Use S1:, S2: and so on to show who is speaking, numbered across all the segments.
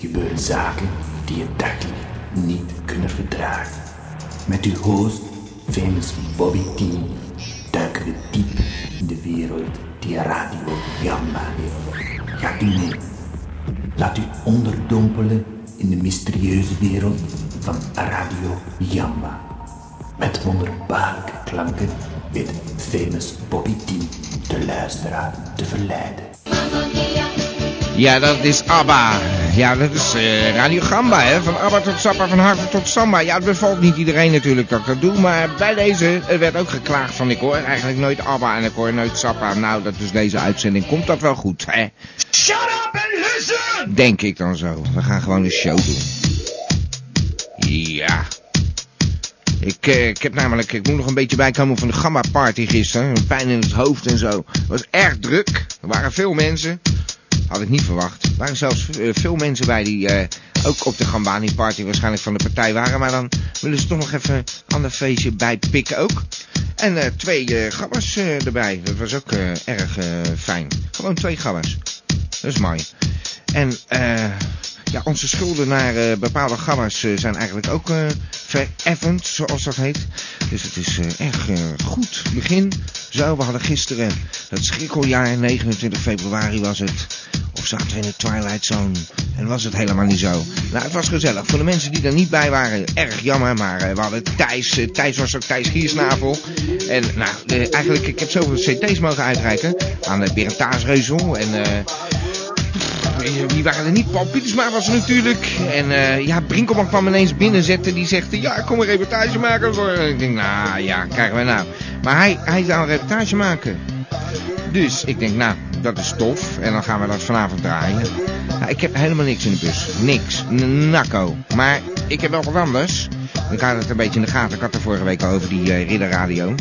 S1: gebeuren zaken die je dagelijks niet kunnen verdragen. Met uw host, famous Bobby T, duiken we diep in de wereld die Radio Gamba heeft. Gaat u mee? Laat u onderdompelen in de mysterieuze wereld van Radio Jamba. Met wonderbaarlijke klanken weet famous Bobby T de luisteraar te verleiden.
S2: Ja, dat is ABBA. Ja, dat is eh, Radio Gamba, hè. Van ABBA tot Sappa, van Harvard tot Samba. Ja, het bevalt niet iedereen natuurlijk dat ik dat doe. Maar bij deze, er werd ook geklaagd van ik hoor eigenlijk nooit ABBA en ik hoor nooit Sappa. Nou, dat dus deze uitzending komt dat wel goed, hè.
S3: Shut up and listen!
S2: Denk ik dan zo. We gaan gewoon een show doen. Ja. Ik, eh, ik heb namelijk, ik moet nog een beetje bijkomen van de Gamma Party gisteren. Pijn in het hoofd en zo. Het was erg druk. Er waren veel mensen. Had ik niet verwacht. Er waren zelfs eh, veel mensen bij die eh, ook op de Gambani Party waarschijnlijk van de partij waren. Maar dan willen ze toch nog even een ander feestje bij pikken ook. En eh, twee eh, gabbers eh, erbij. Dat was ook eh, erg eh, fijn. Gewoon twee gabbers. Dat is mooi. En eh, ja, onze schulden naar eh, bepaalde gammers eh, zijn eigenlijk ook eh vereffend, zoals dat heet. Dus het is eh, echt eh, goed begin. Zo, we hadden gisteren dat schrikkeljaar, 29 februari was het. Of zaten we in de Twilight Zone. En was het helemaal niet zo. Nou, het was gezellig. Voor de mensen die er niet bij waren, erg jammer. Maar eh, we hadden Thijs. eh, Thijs was ook Thijs Giersnavel. En nou, eh, eigenlijk, ik heb zoveel cd's mogen uitreiken. Aan eh, de Berend Taasreuzel en... eh, eh, die waren er niet. Paul Pietersma was er natuurlijk. En eh, ja, Brinkelman kwam ineens binnenzetten. Die zegt, eh, ja, ik kom een reportage maken. Voor. En ik denk, nou ja, krijgen we nou. Maar hij, hij zou een reportage maken. Dus ik denk, nou, dat is tof. En dan gaan we dat vanavond draaien. Nou, ik heb helemaal niks in de bus. Niks. N- Nakko. Maar ik heb wel wat anders. Ik had het een beetje in de gaten. Ik had er vorige week al over die eh, ridderradio.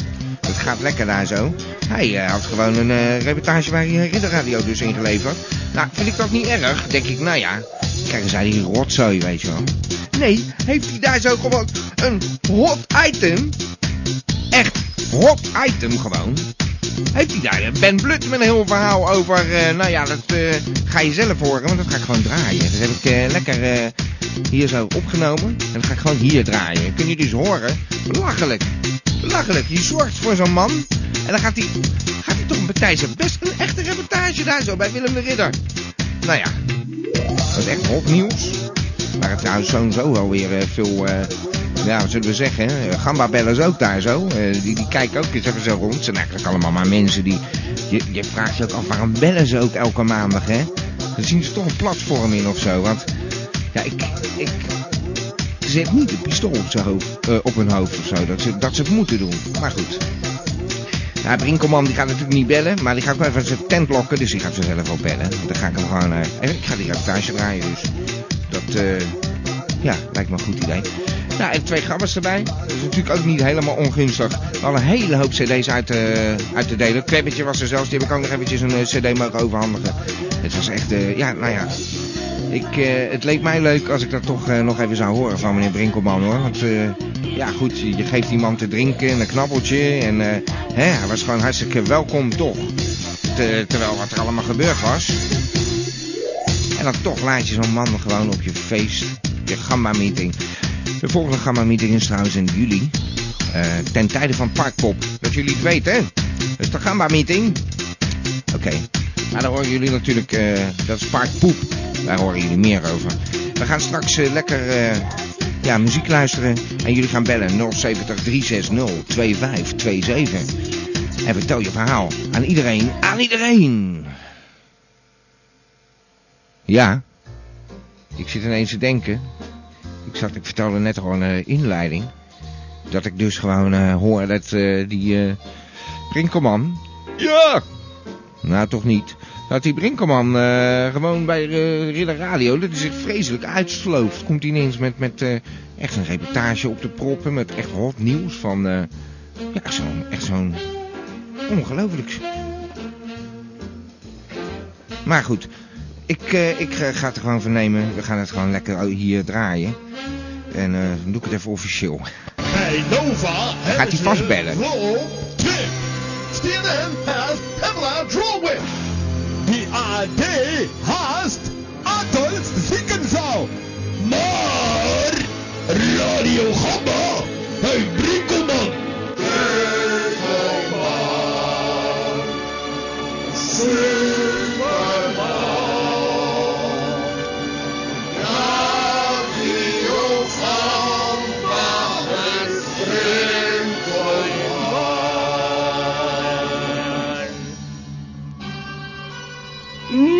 S2: Het gaat lekker daar zo. Hij eh, had gewoon een eh, reportage bij eh, Ridderradio dus ingeleverd. Nou, vind ik dat niet erg? Denk ik, nou ja, krijgen zij die rotzooi, weet je wel. Nee, heeft hij daar zo gewoon een hot item? Echt hot item gewoon. Heeft hij daar eh, Ben Blut met een heel verhaal over... eh, nou ja, dat eh, ga je zelf horen, want dat ga ik gewoon draaien. Dat heb ik eh, lekker eh, hier zo opgenomen. En dat ga ik gewoon hier draaien. Kun je dus horen? Belachelijk. Belachelijk. Je zorgt voor zo'n man. En dan gaat hij, gaat hij toch een partij zijn best een echte reportage daar zo bij Willem de Ridder. Nou ja, dat is echt hot nieuws. Maar het trouwens sowieso wel weer eh, veel, eh, ja, wat zullen we zeggen, eh, gambabellers ook daar zo. Eh, die, die kijken ook eens even zo rond. Het zijn eigenlijk allemaal maar mensen die... Je, je vraagt je ook af, waarom bellen ze ook elke maandag, hè? Dan zien ze toch een platform in of zo. Want, ja, ik... ik zet niet een pistool op, zijn hoofd, eh, op hun hoofd of zo. Dat ze, dat ze het moeten doen. Maar goed. Ja, Brinkelman die gaat natuurlijk niet bellen, maar die gaat wel even zijn tent lokken, dus die gaat zichzelf wel bellen. Want Dan ga ik hem gewoon, eh, en ik ga die reportage draaien, dus dat, eh, ja, lijkt me een goed idee. Nou, en twee gabbers erbij, dat is natuurlijk ook niet helemaal ongunstig. We hadden een hele hoop cd's uit, eh, uit te delen. Klebbetje was er zelfs, die heb ik ook nog eventjes een eh, cd mogen overhandigen. Het was echt, eh, ja, nou ja, ik, eh, het leek mij leuk als ik dat toch eh, nog even zou horen van meneer Brinkelman hoor. Want eh, ja goed, je geeft die man te drinken en een knabbeltje. En eh, hè, hij was gewoon hartstikke welkom toch. Te- terwijl wat er allemaal gebeurd was. En dan toch laat je zo'n man gewoon op je feest. Je gamma meeting. De volgende gamma meeting is trouwens in juli. eh, ten tijde van Parkpop. Dat jullie het weten hè. Dat is de gamma meeting. Oké. Maar daar horen jullie natuurlijk, eh, dat is Park Poep. Daar horen jullie meer over. We gaan straks eh, lekker eh, ja, muziek luisteren. En jullie gaan bellen 070 360 2527. En vertel je verhaal aan iedereen, aan iedereen. Ja, ik zit ineens te denken. Ik, zat, ik vertelde net al een eh, inleiding. Dat ik dus gewoon eh, hoor dat eh, die eh Brinkelman... Ja, nou, toch niet. Dat die Brinkelman eh, gewoon bij eh, Ridder Radio, dat is het vreselijk uitslooft. Komt hij ineens met, met eh, echt een reportage op de proppen, met echt hot nieuws van... eh, ja, zo'n, echt zo'n ongelooflijk... Maar goed, ik, eh, ik eh, ga het er gewoon van nemen. We gaan het gewoon lekker oh, hier draaien. En eh, dan doe ik het even officieel.
S3: Bij Nova
S2: Gaat hij vastbellen?
S3: Roll Trip. CNN has Pamela Drawwin. Die AD haast Adolf Ziegenzau.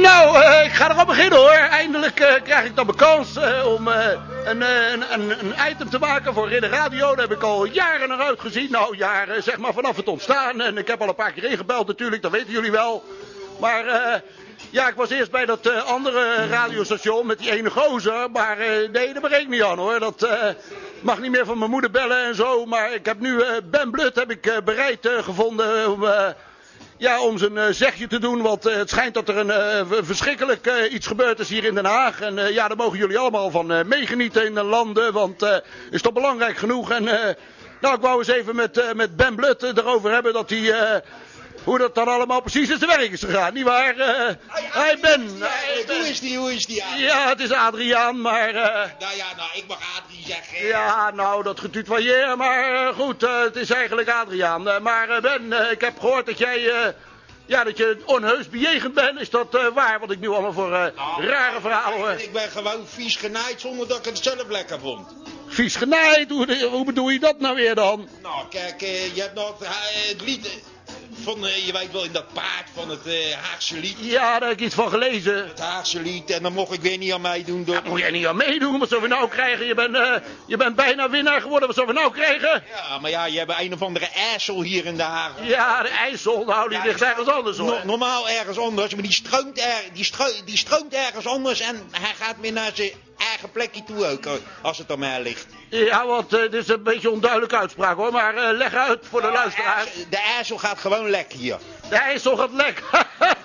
S4: Nou, eh, tevreden hoor. Eindelijk eh, krijg ik dan mijn kans eh, om eh, een, eh, een, een, een item te maken voor Ridder Radio. Daar heb ik al jaren naar uitgezien. Nou, jaren zeg maar vanaf het ontstaan. En ik heb al een paar keer ingebeld natuurlijk, dat weten jullie wel. Maar eh, ja, ik was eerst bij dat eh, andere radiostation met die ene gozer. Maar eh, nee, daar ben ik niet aan hoor. Dat eh, mag niet meer van mijn moeder bellen en zo. Maar ik heb nu eh, Ben Blut heb ik, eh, bereid eh, gevonden om... eh, ja, om zijn eh, zegje te doen, want eh, het schijnt dat er een eh, v- verschrikkelijk eh, iets gebeurd is hier in Den Haag. En eh, ja, daar mogen jullie allemaal van eh, meegenieten in de landen, want eh is toch belangrijk genoeg. En eh, nou, ik wou eens even met, eh, met Ben Blut eh, erover hebben dat hij, eh, hoe dat dan allemaal precies in zijn werk is gegaan, nietwaar? Eh hey Ben, eh,
S5: Hoe is die, hoe is die? Adrie?
S4: ja, het is Adriaan, maar... eh,
S5: Nou ja, nou, ik mag Adrie zeggen.
S4: ja, nou, dat getutoyeer, maar eh, goed, eh, het is eigenlijk Adriaan. Eh, maar eh, Ben, eh, ik heb gehoord dat jij, eh, ja, dat je onheus bejegend bent. Is dat eh, waar, wat ik nu allemaal voor eh, rare verhalen hoor?
S5: Nou, Ik ben gewoon vies genaaid zonder dat ik het zelf lekker vond.
S4: Vies genaaid, hoe, hoe bedoel je dat nou weer dan?
S5: Nou, kijk, eh, je hebt nog eh, het lied eh, van, eh, je weet wel, in dat paard van het eh, Haagse lied.
S4: Ja, daar heb ik iets van gelezen.
S5: Het Haagse lied, en dan mocht ik weer niet aan meedoen. Door...
S4: Daar moet jij niet aan meedoen, wat zullen we nou krijgen? Je bent, eh, je bent bijna winnaar geworden, wat zullen we nou krijgen?
S5: Ja, maar ja, je hebt een of andere assel hier in de Haag.
S4: Ja, de IJssel, nou, die ligt ergens anders hoor.
S5: No- normaal ergens anders, maar die stroomt, er, die, stro- die stroomt ergens anders en hij gaat weer naar zijn eigen plekje toe ook, eh, als het aan mij ligt.
S4: Ja, want eh, dit is een beetje een onduidelijke uitspraak hoor, maar eh, leg uit voor de luisteraars.
S5: Nou, De IJssel gaat gewoon lek hier.
S4: De IJssel gaat lek.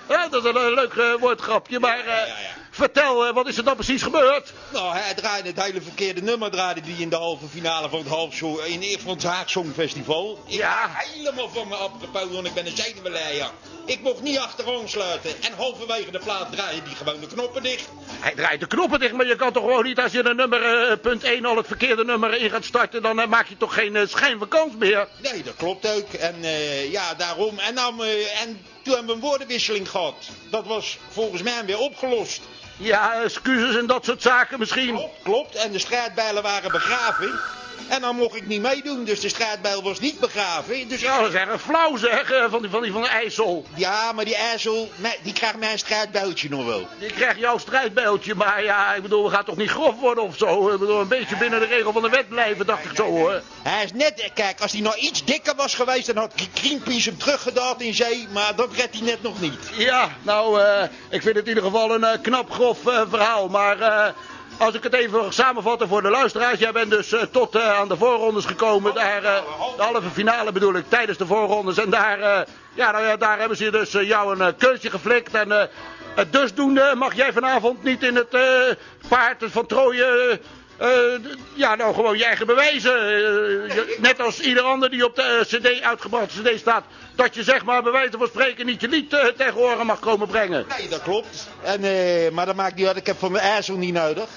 S4: dat is een eh, leuk eh, woordgrapje, maar eh,
S5: ja, ja.
S4: vertel, eh, wat is er dan precies gebeurd?
S5: Nou, hij draaide het hele verkeerde nummer draaide die in de halve finale van het halfshow in van het Haag Songfestival. Ik
S4: Ja.
S5: ben helemaal van me opgepoten, want ik ben een zenuwleier. Ik mocht niet achteraan sluiten. En halverwege de plaat draaide die gewoon de knoppen dicht.
S4: Hij draait de knoppen dicht, maar je kan toch gewoon niet als je een nummer, eh, punt 1, al het verkeerde nummer in gaat starten, dan eh, maak je toch geen eh, schijn van kans meer?
S5: Nee, dat klopt ook. En eh, ja, daarom. En, dan, eh, en toen hebben we een woordenwisseling gehad. Dat was volgens mij weer opgelost.
S4: Ja, excuses en dat soort zaken misschien.
S5: Klopt, klopt. En de strijdbijlen waren begraven. En dan mocht ik niet meedoen, dus de strijdbijl was niet begraven. Dus
S4: Ja, dat is erg flauw zeg, eh, van, die, van, die van de IJssel.
S5: Ja, maar die IJssel, me- die krijgt mijn strijdbuiltje nog wel.
S4: Je krijgt jouw strijdbijltje, maar ja, ik bedoel, we gaan toch niet grof worden of zo? Ik bedoel, een beetje binnen de regel van de wet blijven, dacht ik zo hoor.
S5: Hij is net, kijk, als hij nou iets dikker was geweest, dan had Greenpeace hem teruggedaald in zee, maar dat redt hij net nog niet.
S4: Ja, nou, eh, ik vind het in ieder geval een eh, knap grof eh, verhaal. Maar eh, als ik het even samenvatten voor de luisteraars. Jij bent dus eh, tot eh, aan de voorrondes gekomen. Daar, eh, de halve finale bedoel ik, tijdens de voorrondes. En daar, eh, ja, nou, ja, daar hebben ze dus eh, jou een eh, keurtje geflikt. En eh, het dusdoende mag jij vanavond niet in het eh, paard van Troje... eh, eh, d- ja, nou gewoon je eigen bewijzen. eh, je- net als ieder ander die op de eh, CD uitgebrachte CD staat. Dat je zeg maar bij wijze van spreken niet je lied eh, tegen horen mag komen brengen.
S5: Nee, dat klopt. En, eh, maar dat maakt niet uit, ik heb voor mijn IJssel niet nodig.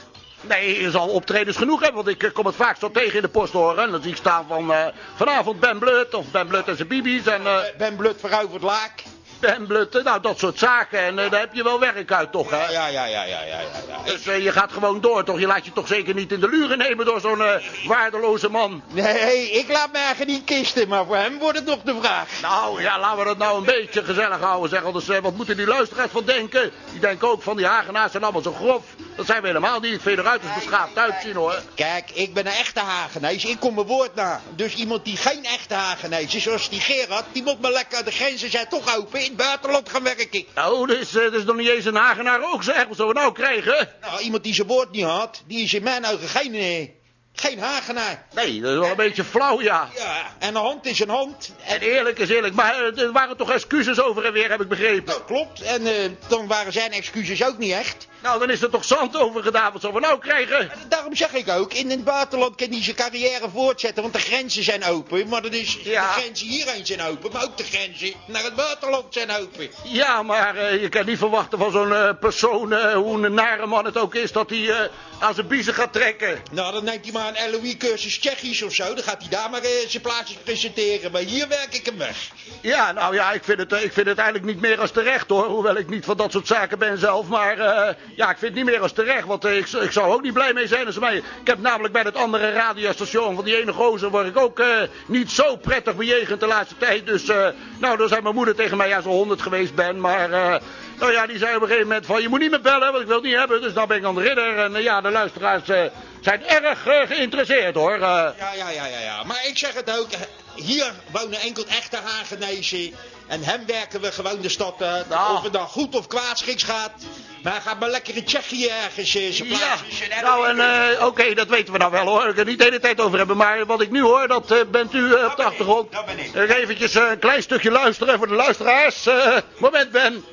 S4: Nee, je zal optredens genoeg hebben, want ik eh, kom het vaak zo tegen in de post horen. En dan zie ik staan van eh, vanavond Ben Blut of Ben Blut en zijn bibi's en eh,
S5: Ik ben blut veroverd laak.
S4: Ben Blut, eh, nou dat soort zaken. En eh, daar heb je wel werk uit toch, hè?
S5: Ja, ja, ja, ja, ja, ja, ja. ja.
S4: Dus eh, je gaat gewoon door, toch? Je laat je toch zeker niet in de luren nemen door zo'n eh, waardeloze man.
S5: Nee, Eh, ik laat me eigen niet kisten, maar voor hem wordt het nog de vraag.
S4: Nou ja, laten we dat nou een beetje gezellig houden, zeg. Anders, eh, wat moeten die luisteraars van denken? Die denken ook van die Hagenaars zijn allemaal zo grof. Dat zijn we helemaal niet. Vind je eruit als beschaafd uitzien, hoor.
S5: Kijk, ik ben een echte Hagenees, ik kom mijn woord na. Dus iemand die geen echte Hagenees is, zoals die Gerard, die moet maar lekker, de grenzen zijn toch open, in het buitenland gaan werken.
S4: Nou, dus, eh, dus nog niet eens een Hagenaar ook, zeg. Wat zullen we nou krijgen?
S5: Nou, iemand die zijn woord niet had, die is in mijn ogen geen, eh, geen hagenaar.
S4: Nee, dat is wel een beetje flauw, ja.
S5: Ja, en een hand is een hand.
S4: En eerlijk is eerlijk, maar eh, er waren toch excuses over en weer, heb ik begrepen.
S5: Dat Nou, klopt. En eh, dan waren zijn excuses ook niet echt.
S4: Nou, dan is er toch zand over gedaan, wat zullen we nou krijgen?
S5: Daarom zeg ik ook, in het buitenland kan hij zijn carrière voortzetten, want de grenzen zijn open. Maar dat is,
S4: Ja.
S5: de grenzen hierheen zijn open, maar ook de grenzen naar het buitenland zijn open.
S4: Ja, maar eh, je kan niet verwachten van zo'n eh, persoon, eh, hoe een nare man het ook is, dat hij eh, aan zijn biezen gaat trekken.
S5: Nou, dan neemt hij maar een LOE-cursus Tsjechisch of zo, dan gaat hij daar maar eh, zijn plaatjes presenteren. Maar hier werk ik hem weg.
S4: Ja, nou ja, ik vind, het, eh, ik vind het eigenlijk niet meer als terecht hoor. Hoewel ik niet van dat soort zaken ben zelf. Maar eh, Ja, ik vind het niet meer als terecht, want eh, ik, ik zou ook niet blij mee zijn als ze mij... Ik heb namelijk bij dat andere radiostation van die ene gozer... word ik ook eh, niet zo prettig bejegend de laatste tijd. Dus, eh, nou, dan zei mijn moeder tegen mij, ja, zo honderd geweest ben, maar... eh, nou ja, die zei op een gegeven moment van, je moet niet meer bellen, want ik wil het niet hebben. Dus nou ben ik aan de ridder en eh, ja, de luisteraars eh, zijn erg eh, geïnteresseerd, hoor. Eh,
S5: Ja, ja, ja, ja, ja. Maar ik zeg het ook. Hier wonen enkel echte Hagenezen. En hem werken we gewoon de stad uit.
S4: Ja.
S5: Of het dan goed of kwaad schiks gaat. Maar hij gaat maar lekker in Tsjechië ergens eh, zijn
S4: Ja,
S5: plaats.
S4: nou en eh, oké, dat weten we nou wel hoor. Ik kan het niet de hele tijd over hebben. Maar wat ik nu hoor, dat eh, bent u eh, op de
S5: Nou ben ik,
S4: achtergrond.
S5: dat ben ik.
S4: Eh, eventjes eh, een klein stukje luisteren voor de luisteraars. Eh, moment Ben.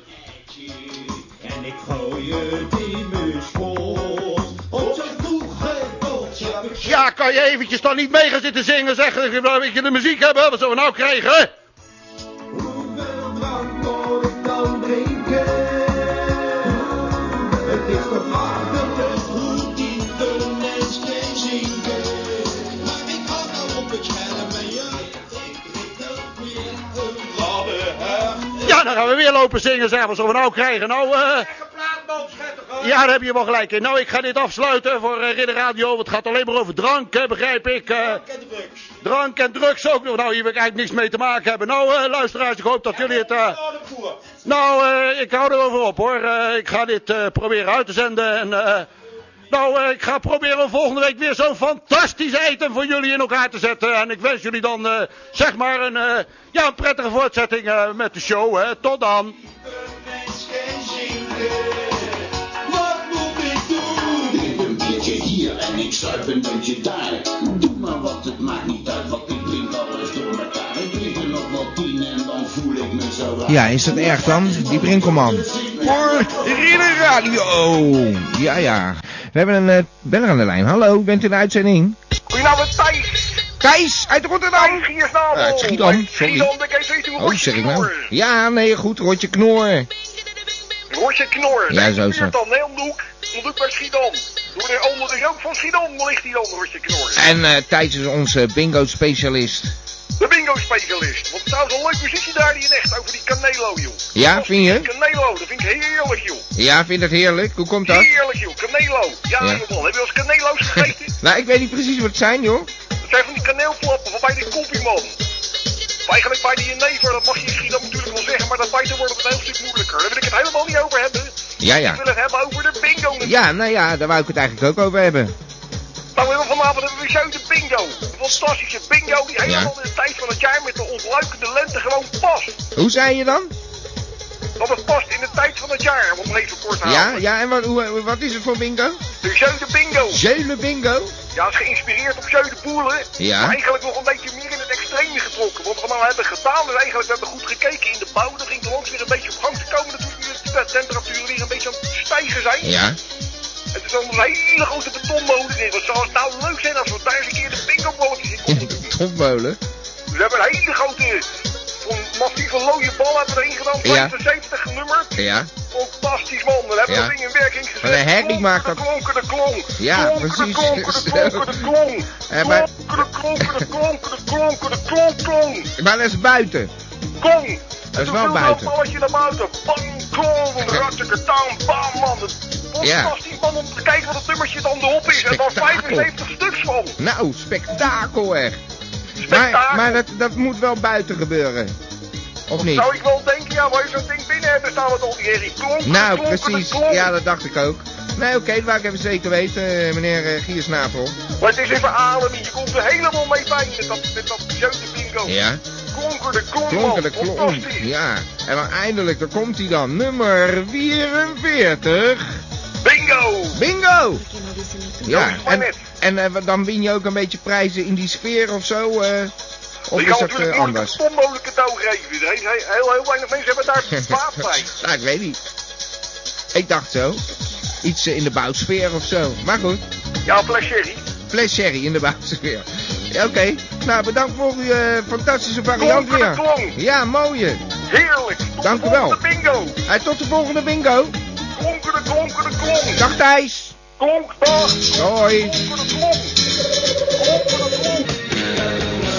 S6: En ik gooi het in mijn schoot. Op zo'n vroege dotje.
S4: Ja, kan je eventjes dan niet mee gaan zitten zingen? Zeg, ik wil een beetje de muziek hebben. Wat zullen we nou krijgen?
S6: Hoeveel drank moet ik dan drinken? Het is toch waar dat de routine mens geen zinken. Maar ik hou nou op het scherm en ja, ik drink ook weer een gladde heft.
S4: Ja, dan gaan we weer lopen zingen. Zeg, wat zullen we nou krijgen? Nou, eh, ja, daar heb je wel gelijk in. Nou, ik ga dit afsluiten voor eh, Ridder Radio. Want het gaat alleen maar over drank, hè, begrijp ik. eh. Drank en drugs ook nog. Nou, hier wil ik eigenlijk niks mee te maken hebben. Nou, eh, luisteraars, ik hoop dat jullie het... eh, Nou, eh, ik hou erover op, hoor. Eh, ik ga dit eh, proberen uit te zenden. En, eh, nou, eh, ik ga proberen om volgende week weer zo'n fantastisch item voor jullie in elkaar te zetten. En ik wens jullie dan, eh, zeg maar, een, eh, ja, een prettige voortzetting eh, met de show. Hè. Tot dan.
S6: Mens geen zinken. Wat moet ik doen?
S7: Drink een biertje hier en ik zuip een muntje daar. Doe maar wat, het maakt niet uit, want ik drink alles door elkaar. Ik drink er nog wel tien en dan voel ik me zo raar.
S2: Ja, is dat erg dan? Die Brinkelman. Voor Ridder Radio. Ja, ja. We hebben een eh, beller aan de lijn. Hallo, bent u in de uitzending?
S8: Goedenavond, Thijs.
S2: Thijs uit Rotterdam.
S8: Thijs Giersnabel.
S2: Eh, het is Schiedam, sorry.
S8: Oh, Schiedam, ik even weten hoe
S2: Oh,
S8: goed
S2: zeg ik nou.
S8: Knor.
S2: Ja, nee, goed. Rotje Knor.
S8: Roosje Knor.
S2: Ja,
S8: Nee,
S2: zo, zo.
S8: Buurt dan, hè, om de hoek. Om de hoek bij Schiedam. Door de onder is ook van Schiedam ligt die dan, Roosje Knor.
S2: En eh, Thijs is onze bingo-specialist.
S8: De bingo-specialist. Want trouwens, een leuk muziekje daar die in echt over die Canelo, joh.
S2: Ja, vind je?
S8: Canelo, dat vind ik heerlijk, joh.
S2: Ja, vind je dat heerlijk? Hoe komt dat?
S8: Heerlijk, joh. Canelo. Ja,
S2: Ja.
S8: joh, man. Heb je wel eens Canelo's gegeten?
S2: nou, ik weet niet precies wat het zijn, joh.
S8: Dat zijn van die kaneelplappen van bij die koppie, man. Maar Eigenlijk bij die jenever, dat mag je in Schiedam natuurlijk wel zeggen, maar dat bijten wordt het een heel stuk moeilijker. Daar wil ik het helemaal niet over hebben.
S2: Ja,
S8: Ik
S2: ja.
S8: wil het hebben over de bingo. natuurlijk.
S2: Ja, nou ja, daar wou ik het eigenlijk ook over hebben.
S8: Nou, we hebben vanavond hebben we zo de bingo. Een fantastische bingo die helemaal in de tijd van het jaar met de ontluikende lente gewoon past.
S2: Hoe zei je dan?
S8: Want het past in de tijd van het jaar, om het even kort te
S2: Ja,
S8: houden.
S2: ja, en wat, hoe, wat is het voor bingo?
S8: De Zeu de bingo.
S2: Zeulen bingo?
S8: Ja, is geïnspireerd op Zeu de Boelen.
S2: Ja.
S8: Maar eigenlijk nog een beetje meer in het extreme getrokken. Want wat we nou hebben gedaan, dus eigenlijk we hebben goed gekeken in de bouw. Dan ging de langs weer een beetje op gang te komen. Natuurlijk nu de temperaturen weer een beetje aan het stijgen zijn.
S2: Ja.
S8: Het is dan een hele grote betonmolen in. Wat zou het nou leuk zijn als we daar eens een keer de bingo-bolletjes in konden doen.
S2: Topmolen.
S8: We hebben een hele grote, zo'n massieve looie bal hebben we erin gedaan.
S2: Ja.
S8: 75 nummer.
S2: Ja.
S8: Fantastisch man. We hebben
S2: Ja.
S8: dat ding in werking gezet.
S2: Wat een herrie maakt dat.
S8: Klonken de klonk.
S2: Ja,
S8: klonken de
S2: precies.
S8: klonken de klonken de klonk.
S2: En bij-
S8: Klonken de klonken de klonken de klonken de klonk klonk.
S2: Maar dat is buiten.
S8: Klonk.
S2: Dat is wel buiten.
S8: Een balletje naar buiten. Bang, klonk. Ratteke down. Bam man. Het was
S2: Ja.
S8: Fantastisch man om te kijken wat het nummertje dan de hop is. En daar
S2: Spektakel.
S8: 75 stuks van.
S2: Nou, spektakel echt. Maar,
S8: Spektakel.
S2: maar dat, dat moet wel buiten gebeuren. Of niet?
S8: Zou ik wel denken, ja, waar je zo'n ding binnen hebt, dan staan we al die herrie. Klonken,
S2: Nou,
S8: klonken,
S2: precies.
S8: klonk.
S2: Ja, dat dacht ik ook. Nee, oké, dat wou ik even zeker weten, eh, meneer eh, Giersnavel.
S8: Maar het is even ademen, je komt er helemaal mee bij met dat, met dat jeugde bingo.
S2: Ja.
S8: Klonker de klonk,
S2: Klonken de
S8: man.
S2: klonk.
S8: Fantastisch.
S2: Ja. En dan eindelijk, daar komt hij dan. Nummer 44.
S8: Bingo!
S2: Bingo! Ja,
S8: is maar
S2: en,
S8: net.
S2: en eh, dan win je ook een beetje prijzen in die sfeer of zo. eh, of
S8: je
S2: is
S8: kan
S2: dat
S8: natuurlijk moeilijk
S2: eh, anders?
S8: een onmogelijk cadeau geven. Er is heel, heel, heel weinig mensen hebben daar baat bij.
S2: nou, ik weet niet. Ik dacht zo. Iets eh, in de bouwsfeer of zo. Maar goed,
S8: Ja, een fles sherry.
S2: fles sherry in de bouwsfeer. Ja, Oké, nou bedankt voor uw eh, fantastische variant
S8: Klonken de
S2: weer.
S8: klonk.
S2: Ja, mooie.
S8: Heerlijk. Tot
S2: Dank
S8: de
S2: u wel.
S8: volgende bingo.
S2: Hey, tot de volgende bingo.
S8: Klonker de klonker de klonk.
S2: Dag Thijs.
S8: Klonk, dag.
S2: Hoi.
S8: Klonker de klonk. Klonker de klonk.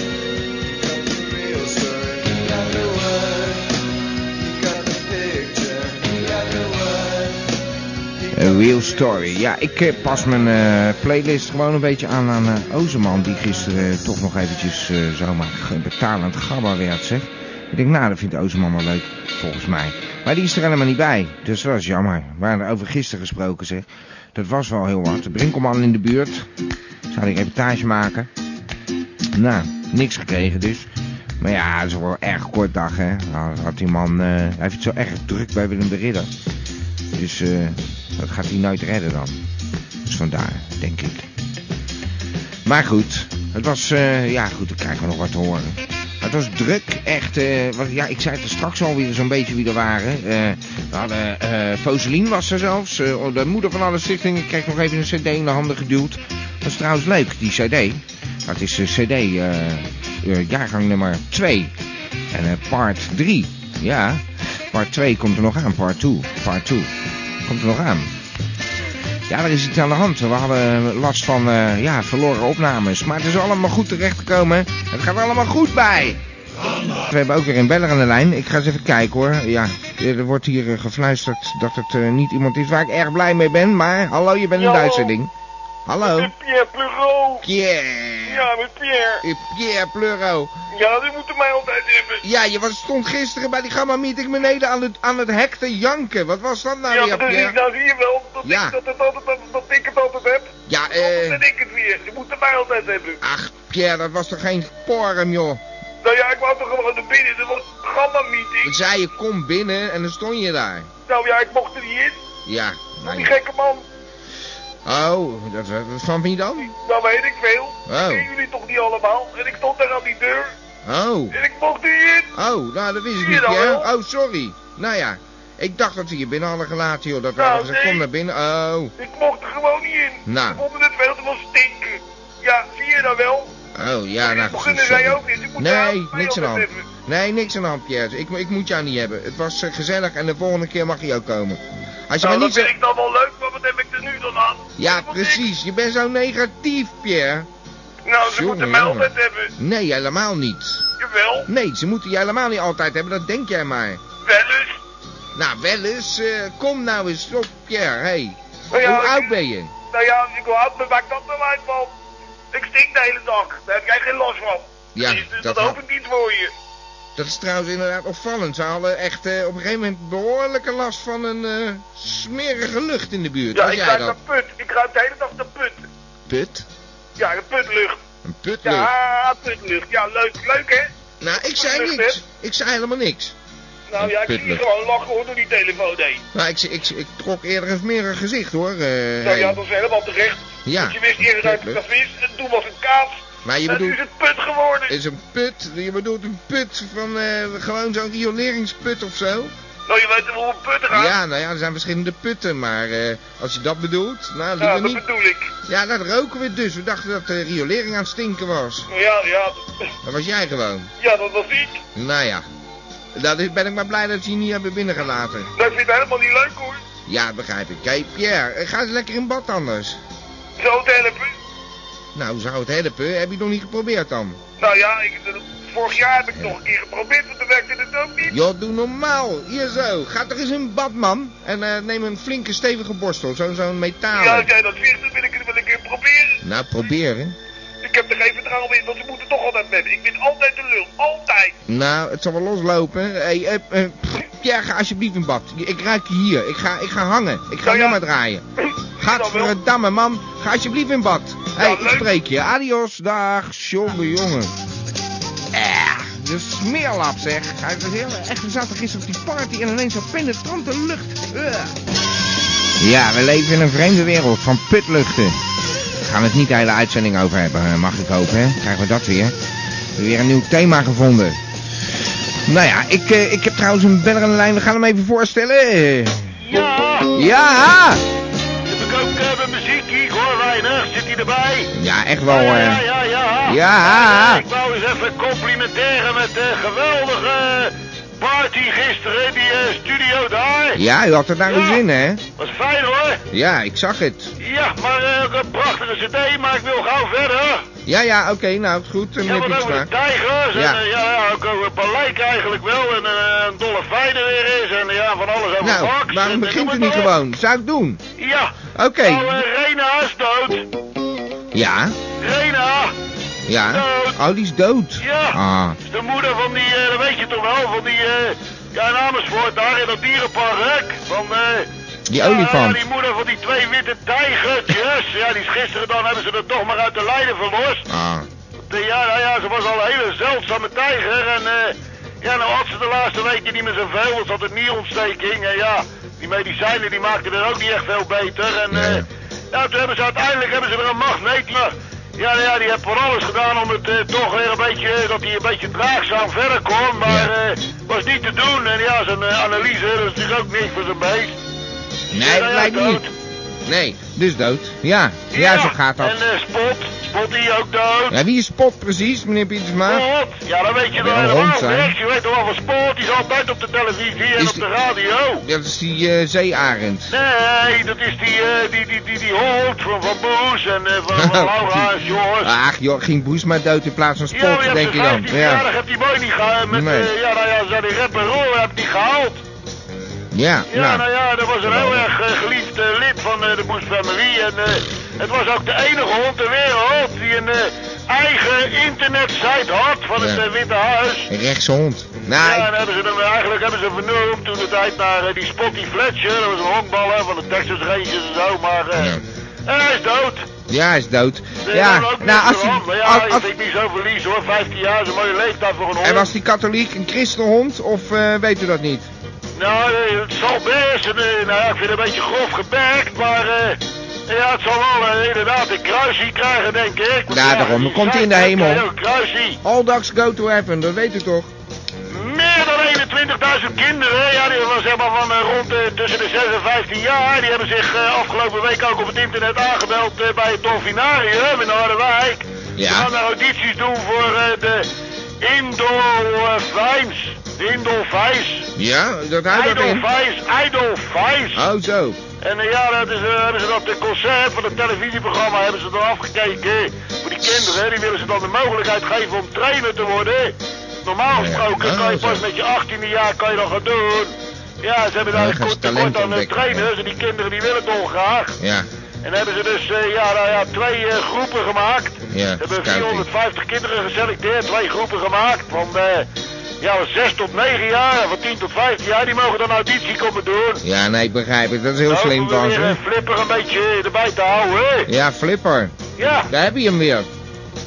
S6: You got the picture, you got the word.
S2: A real story. Ja, ik eh, pas mijn eh, playlist gewoon een beetje aan aan eh, Ozerman. Die gisteren eh, toch nog eventjes eh, zomaar ge- betalend gabba werd, zeg. Ik denk, nou, dat vindt Ozerman wel leuk, volgens mij. Maar die is er helemaal niet bij. Dus dat is jammer. We waren er over gisteren gesproken, zeg. Dat was wel heel wat. De Brinkelman in de buurt. Zou die reportage maken. Nou, niks gekregen dus. Maar ja, het is wel een erg kort dag, hè. Nou, had die man... eh, hij heeft het zo erg druk bij Willem de Ridder. Dus eh, dat gaat hij nooit redden dan. Dus vandaar, denk ik. Maar goed, het was... eh, ja, goed, dan krijgen we nog wat te horen. Maar het was druk, echt. eh, wat, ja, ik zei het er straks alweer zo'n beetje wie er waren. Eh, we hadden... eh Foselien was er zelfs. eh, de moeder van alle stichtingen kreeg nog even een cd in de handen geduwd. Dat is trouwens leuk, die cd. Dat is eh, cd eh, eh, jaargang nummer 2. En eh, part 3. Ja, part 2 komt er nog aan. Part 2. Part 2. Komt er nog aan. Ja, er is iets aan de hand. We hadden last van eh, ja, verloren opnames. Maar het is allemaal goed terechtgekomen. Het gaat allemaal goed bij. We hebben ook weer een beller aan de lijn. Ik ga eens even kijken hoor. Ja, er wordt hier eh, gefluisterd dat het eh, niet iemand is waar ik erg blij mee ben. Maar hallo, je bent in de
S9: Ja,
S2: uitzending. Hallo.
S9: Met Pierre Pluro.
S2: Pierre.
S9: Ja, met Pierre.
S2: Eh, Pierre Pleuro.
S9: Ja, die moeten mij altijd hebben.
S2: Ja, je was, stond gisteren bij die gamma-meeting beneden aan het, aan het hek te janken. Wat was dat nou
S9: ja,
S2: weer,
S9: maar dat is,
S2: Pierre?
S9: nou zie je wel dat,
S2: Ja.
S9: ik, dat, het altijd, dat, dat ik het altijd heb.
S2: Ja,
S9: En
S2: eh...
S9: ik het weer. Die moeten mij altijd hebben.
S2: Ach, Pierre, dat was toch geen forum, joh?
S9: Nou ja, ik wou toch gewoon naar binnen. Dat was een
S2: Ik
S9: gamma-meeting.
S2: zei je, kom binnen en dan stond je daar.
S9: Nou ja, ik mocht er niet in.
S2: Ja, nou
S9: Die
S2: ja.
S9: gekke man.
S2: Oh, dat, dat, dat van wie dan?
S9: Nou weet ik veel.
S2: Oh.
S9: Dat kennen jullie toch niet allemaal. En ik stond daar aan die deur.
S2: Oh,
S9: En ik mocht er niet in.
S2: oh, nou dat wist ik
S9: Zie je
S2: niet,
S9: nou
S2: Pierre.
S9: wel?
S2: Oh, sorry. Nou ja, ik dacht dat ze je binnen hadden gelaten, joh. Dat we
S9: Nou,
S2: hadden gezegd,
S9: nee.
S2: kom naar binnen. Oh,
S9: Ik mocht er gewoon niet in.
S2: Nou.
S9: Ik vond het veel te veel stinken. Ja, zie je nou wel?
S2: oh, ja, nou goed,
S9: Beginnen zij
S2: sorry.
S9: ook niet. Ik moet daar
S2: Nee,
S9: ook mee
S2: niks aan de hand.
S9: altijd hebben.
S2: Nee, niks aan de hand, Pierre. Ik, ik moet jou niet hebben. Het was eh, gezellig en de volgende keer mag je ook komen. Als je maar
S9: Nou, dat
S2: niet zo...
S9: vind ik dan wel leuk, maar wat heb ik er nu dan aan?
S2: Ja,
S9: Dat moet ik-
S2: precies. Je bent zo negatief, Pierre.
S9: Nou, ze
S2: Jongen,
S9: moeten mij
S2: jongen.
S9: altijd hebben.
S2: Nee, helemaal niet.
S9: Jawel,
S2: Nee, ze moeten je helemaal niet altijd hebben. Dat denk jij maar.
S9: wel eens.
S2: Nou, wel eens. eh, kom nou eens op, Pierre. Hey.
S9: Nou ja,
S2: Hoe oud
S9: ik-
S2: ben je?
S9: Nou ja, als ik wel oud ben, maakt dat nou uit, man. Ik stink de hele dag. Daar heb jij geen last van.
S2: Ja,
S9: Dus,
S2: dat
S9: dus dat,
S2: wel.
S9: hoop ik niet voor je.
S2: Dat is trouwens inderdaad opvallend. Ze hadden echt eh, op een gegeven moment behoorlijke last van een eh, smerige lucht in de buurt.
S9: Ja,
S2: Was
S9: ik
S2: jij
S9: ruik
S2: dat?
S9: naar put. Ik ruik de hele dag naar put.
S2: Put?
S9: Ja, de putlucht.
S2: Een putlucht?
S9: Ja, putlucht. Ja, leuk. Leuk, hè?
S2: Nou, ik zei
S9: Putlucht,
S2: niks.
S9: hè?
S2: Ik zei helemaal niks.
S9: Nou ja, ik zie je
S2: Putlucht.
S9: gewoon lachen, hoor, door die telefoon heen.
S2: Nou, ik, ik, ik trok eerder een smerig gezicht, hoor. eh,
S9: Nou ja,
S2: hey.
S9: dat is helemaal terecht.
S2: Ja,
S9: Want je wist eerder uit dat
S2: putlucht.
S9: het vis en toen was het kaas.
S2: Maar je
S9: en
S2: bedoelt-
S9: nu is het put geworden.
S2: is een put. Je bedoelt een put van eh, gewoon zo'n rioleringsput of zo?
S9: Nou, je weet wel hoe een put gaat.
S2: Ja, nou ja, er zijn verschillende putten, maar eh, als je dat bedoelt, nou
S9: Ja,
S2: liever
S9: dat
S2: niet.
S9: bedoel ik.
S2: Ja, dat roken we dus. We dachten dat de riolering aan het stinken was.
S9: Ja, ja,
S2: Dat was jij gewoon.
S9: ja, dat was ik.
S2: Nou ja, dat is, ben ik maar blij dat ze je niet hebben binnengelaten.
S9: Dat vind ik helemaal niet leuk hoor.
S2: Ja, dat begrijp ik. Kijk, Pierre, eh, ga eens lekker in bad anders.
S9: Zo te helpen.
S2: Nou, zou het helpen? Heb je het nog niet geprobeerd dan?
S9: Nou ja, ik, dat- vorig jaar heb ik nog een keer geprobeerd, maar toen werkte het ook niet.
S2: Joh, doe normaal. Hier zo. Ga toch eens in bad, man. En eh, neem een flinke stevige borstel. Zo'n zo'n
S9: Ja,
S2: metalen.
S9: als jij dat zegt, dan wil ik het wel een keer proberen.
S2: Nou, proberen.
S9: Ik heb er geen vertrouwen in, want ze moeten toch altijd met. me. Ik ben altijd de lul, altijd.
S2: Nou, het zal wel loslopen. Hey, eh, eh, pff, Pierre, ga alsjeblieft in bad. Ik ruik je hier. Ik ga, ik ga hangen. Ik ga
S9: Nou ja.
S2: nummer draaien.
S9: Nou wel.
S2: Gadverdamme, man. Ga alsjeblieft in bad. Hé, hey, ik
S9: leuk.
S2: spreek je. Adios. Dag. Jongen, jongen. Eh, de smeerlap, zeg. Hij was heel, echt, we zaten gisteren op die party en ineens zo'n penetrante lucht. Eh. Ja, we leven in een vreemde wereld van putluchten. Daar gaan we het niet de hele uitzending over hebben, eh, mag ik hopen. Hè? Krijgen we dat weer. We hebben weer een nieuw thema gevonden. Nou ja, ik, eh, ik heb trouwens een beller aan de lijn. We gaan hem even voorstellen.
S9: Ja,
S2: Ja!
S9: heb ik ook eh, mijn muziek hier, hoor weinig. Zit hij erbij?
S2: Ja, echt wel. eh,
S9: ja, ja.
S2: Ja.
S9: Ik wou eens even complimenteren met de geweldige party gisteren, die eh, studio daar.
S2: Ja, u had het naar uw zin, hè?
S9: Was fijn hoor.
S2: Ja, ik zag het.
S9: Ja, maar eh, ook een prachtige cd, maar ik wil gauw verder.
S2: Ja, ja, oké, nou goed, eh,
S9: Ja,
S2: meneer
S9: wat over
S2: Pietersma.
S9: de tijgers en
S2: Ja.
S9: ja, ja, ja ook over Baleik eigenlijk wel en eh, een dolle fijn er weer is en ja, van alles over
S2: Nou,
S9: Max.
S2: waarom
S9: en, eh,
S2: begint u
S9: noem
S2: niet
S9: het maar op.
S2: gewoon? Zou ik doen?
S9: Ja.
S2: Oké.
S9: Nou, eh, Rena is dood.
S2: Ja,
S9: Rena
S2: ja.
S9: eh, Dood.
S2: Oh, die is dood.
S9: Ja.
S2: Ah,
S9: is de moeder van die, eh, dat weet je toch wel, van die, eh, ja, namensvoort daar in dat dierenpark. Rek, Van, eh,
S2: die
S9: Ja,
S2: olifant.
S9: die moeder van die twee witte tijgertjes. Ja, die is gisteren dan hebben ze er toch maar uit de lijden verlost.
S2: Ah,
S9: De- Ja, nou ja, ze was al een hele zeldzame tijger. En eh, ja, nou had ze de laatste weken niet meer zoveel, want ze had een nierontsteking. En ja, die medicijnen die maakten er ook niet echt veel beter. En eh,
S2: Nee.
S9: ja, toen hebben ze uiteindelijk hebben ze weer een magneet. Maar ja, nou ja, die heeft van alles gedaan om het eh, toch weer een beetje, eh, dat hij een beetje draagzaam verder kon. Maar
S2: Ja.
S9: eh, was niet te doen. En ja, zijn eh, analyse, dat is natuurlijk ook niks voor zijn beest.
S2: nee,
S9: Ja, nou
S2: dat
S9: ja,
S2: lijkt me
S9: dood.
S2: niet. Nee, dus dood. Ja, ja, zo gaat
S9: En
S2: dat.
S9: eh, Spot, Spot die ook dood.
S2: Ja, wie is Spot precies, meneer Pietersma?
S9: Sport? Ja, dan weet je
S2: Moet
S9: wel
S2: wel een hond
S9: helemaal
S2: zijn.
S9: niks. Je weet toch wel van sport? Die is altijd op de televisie en
S2: Is
S9: op
S2: die-
S9: de radio.
S2: Dat is die eh, zeearend.
S9: Nee, dat is die, eh, die, die, die, die hond van, van Boes en eh, van, van Laura en George.
S2: Ach joh, ging Boes maar dood in plaats van
S9: Ja,
S2: Spot,
S9: maar je
S2: denk
S9: hebt de
S2: je dan.
S9: 15
S2: Ja,
S9: verjaardag heb die mooi niet gehaald. Met,
S2: Nee.
S9: eh, ja, nou ja, ze die rap en roll heb die gehaald.
S2: ja,
S9: Ja, nou,
S2: nou.
S9: ja, dat was een heel erg eh, geliefd eh, lid van eh, de Boes Family. En eh, het was ook de enige hond ter wereld die een eh, eigen internetsite had van het
S2: Ja.
S9: eh, Witte Huis.
S2: Een rechtse hond.
S9: Ja, en
S2: Nou, ik-
S9: hebben ze hem, eigenlijk hebben ze hem vernoemd toen de tijd naar eh, die Spotty Fletcher. Dat was een honkballer van de Texas Rangers en zo, maar... eh,
S2: Ja.
S9: en hij is dood.
S2: ja, hij is dood.
S9: Dus
S2: Ja,
S9: daar ook
S2: nou,
S9: niks
S2: als
S9: aan.
S2: hij...
S9: Maar ja,
S2: als-
S9: je
S2: als-
S9: vindt niet zo verlies hoor. 15 jaar is een mooie leeftijd voor een
S2: Oh,
S9: hond.
S2: En was die katholiek een christenhond of eh, weet u dat niet?
S9: Nou, eh, het zal best. En, eh, nou ja, ik vind het een beetje grof geperkt, maar... eh, ja, het zal wel eh, inderdaad een kruisie krijgen, denk ik. Want
S2: Ja,
S9: ja,
S2: Nou, daarom.
S9: die
S2: Komt hij in de
S9: zaak,
S2: hemel?
S9: eh, Een kruisie.
S2: All dogs go to heaven, dat weet u toch?
S9: Meer dan 21.000 kinderen, ja, die was zeg maar van eh, rond de, tussen de 6 en 15 jaar. Die hebben zich eh, afgelopen week ook op het internet aangemeld eh, bij het Dolfinarium in Harderwijk. Ze gaan daar audities doen voor eh, de Indolfijns. Indolfijns.
S2: Ja, dat houdt dat in.
S9: Idolfijns. Idolfijns.
S2: Oh, zo.
S9: En eh, ja, dat is, eh, hebben ze dat eh, concert van het televisieprogramma hebben ze dan afgekeken. Voor die kinderen, die willen ze dan de mogelijkheid geven om trainer te worden. Normaal
S2: Ja,
S9: gesproken
S2: ja,
S9: kan je
S2: zo.
S9: pas met je 18e jaar kan je dat gaan doen. Ja, ze hebben
S2: Ja, gaan
S9: daar een
S2: ze
S9: kort
S2: talent
S9: tekort aan eh,
S2: ontdekken,
S9: trainers en die kinderen die willen dolgraag.
S2: Ja,
S9: En hebben ze dus eh, ja, nou ja, twee eh, groepen gemaakt.
S2: Ja,
S9: Ze hebben
S2: scouting.
S9: 450 kinderen geselecteerd, twee groepen gemaakt. Van eh, ja, van 6 tot 9 jaar en van 10 tot 15 jaar, die mogen dan auditie komen doen.
S2: ja, nee, ik begrijp het. Dat is heel
S9: Nou,
S2: slim
S9: hoeven
S2: van
S9: we weer,
S2: ze.
S9: eh, Flipper een beetje erbij te houden, hè?
S2: Ja, Flipper.
S9: Ja,
S2: Daar heb je hem weer.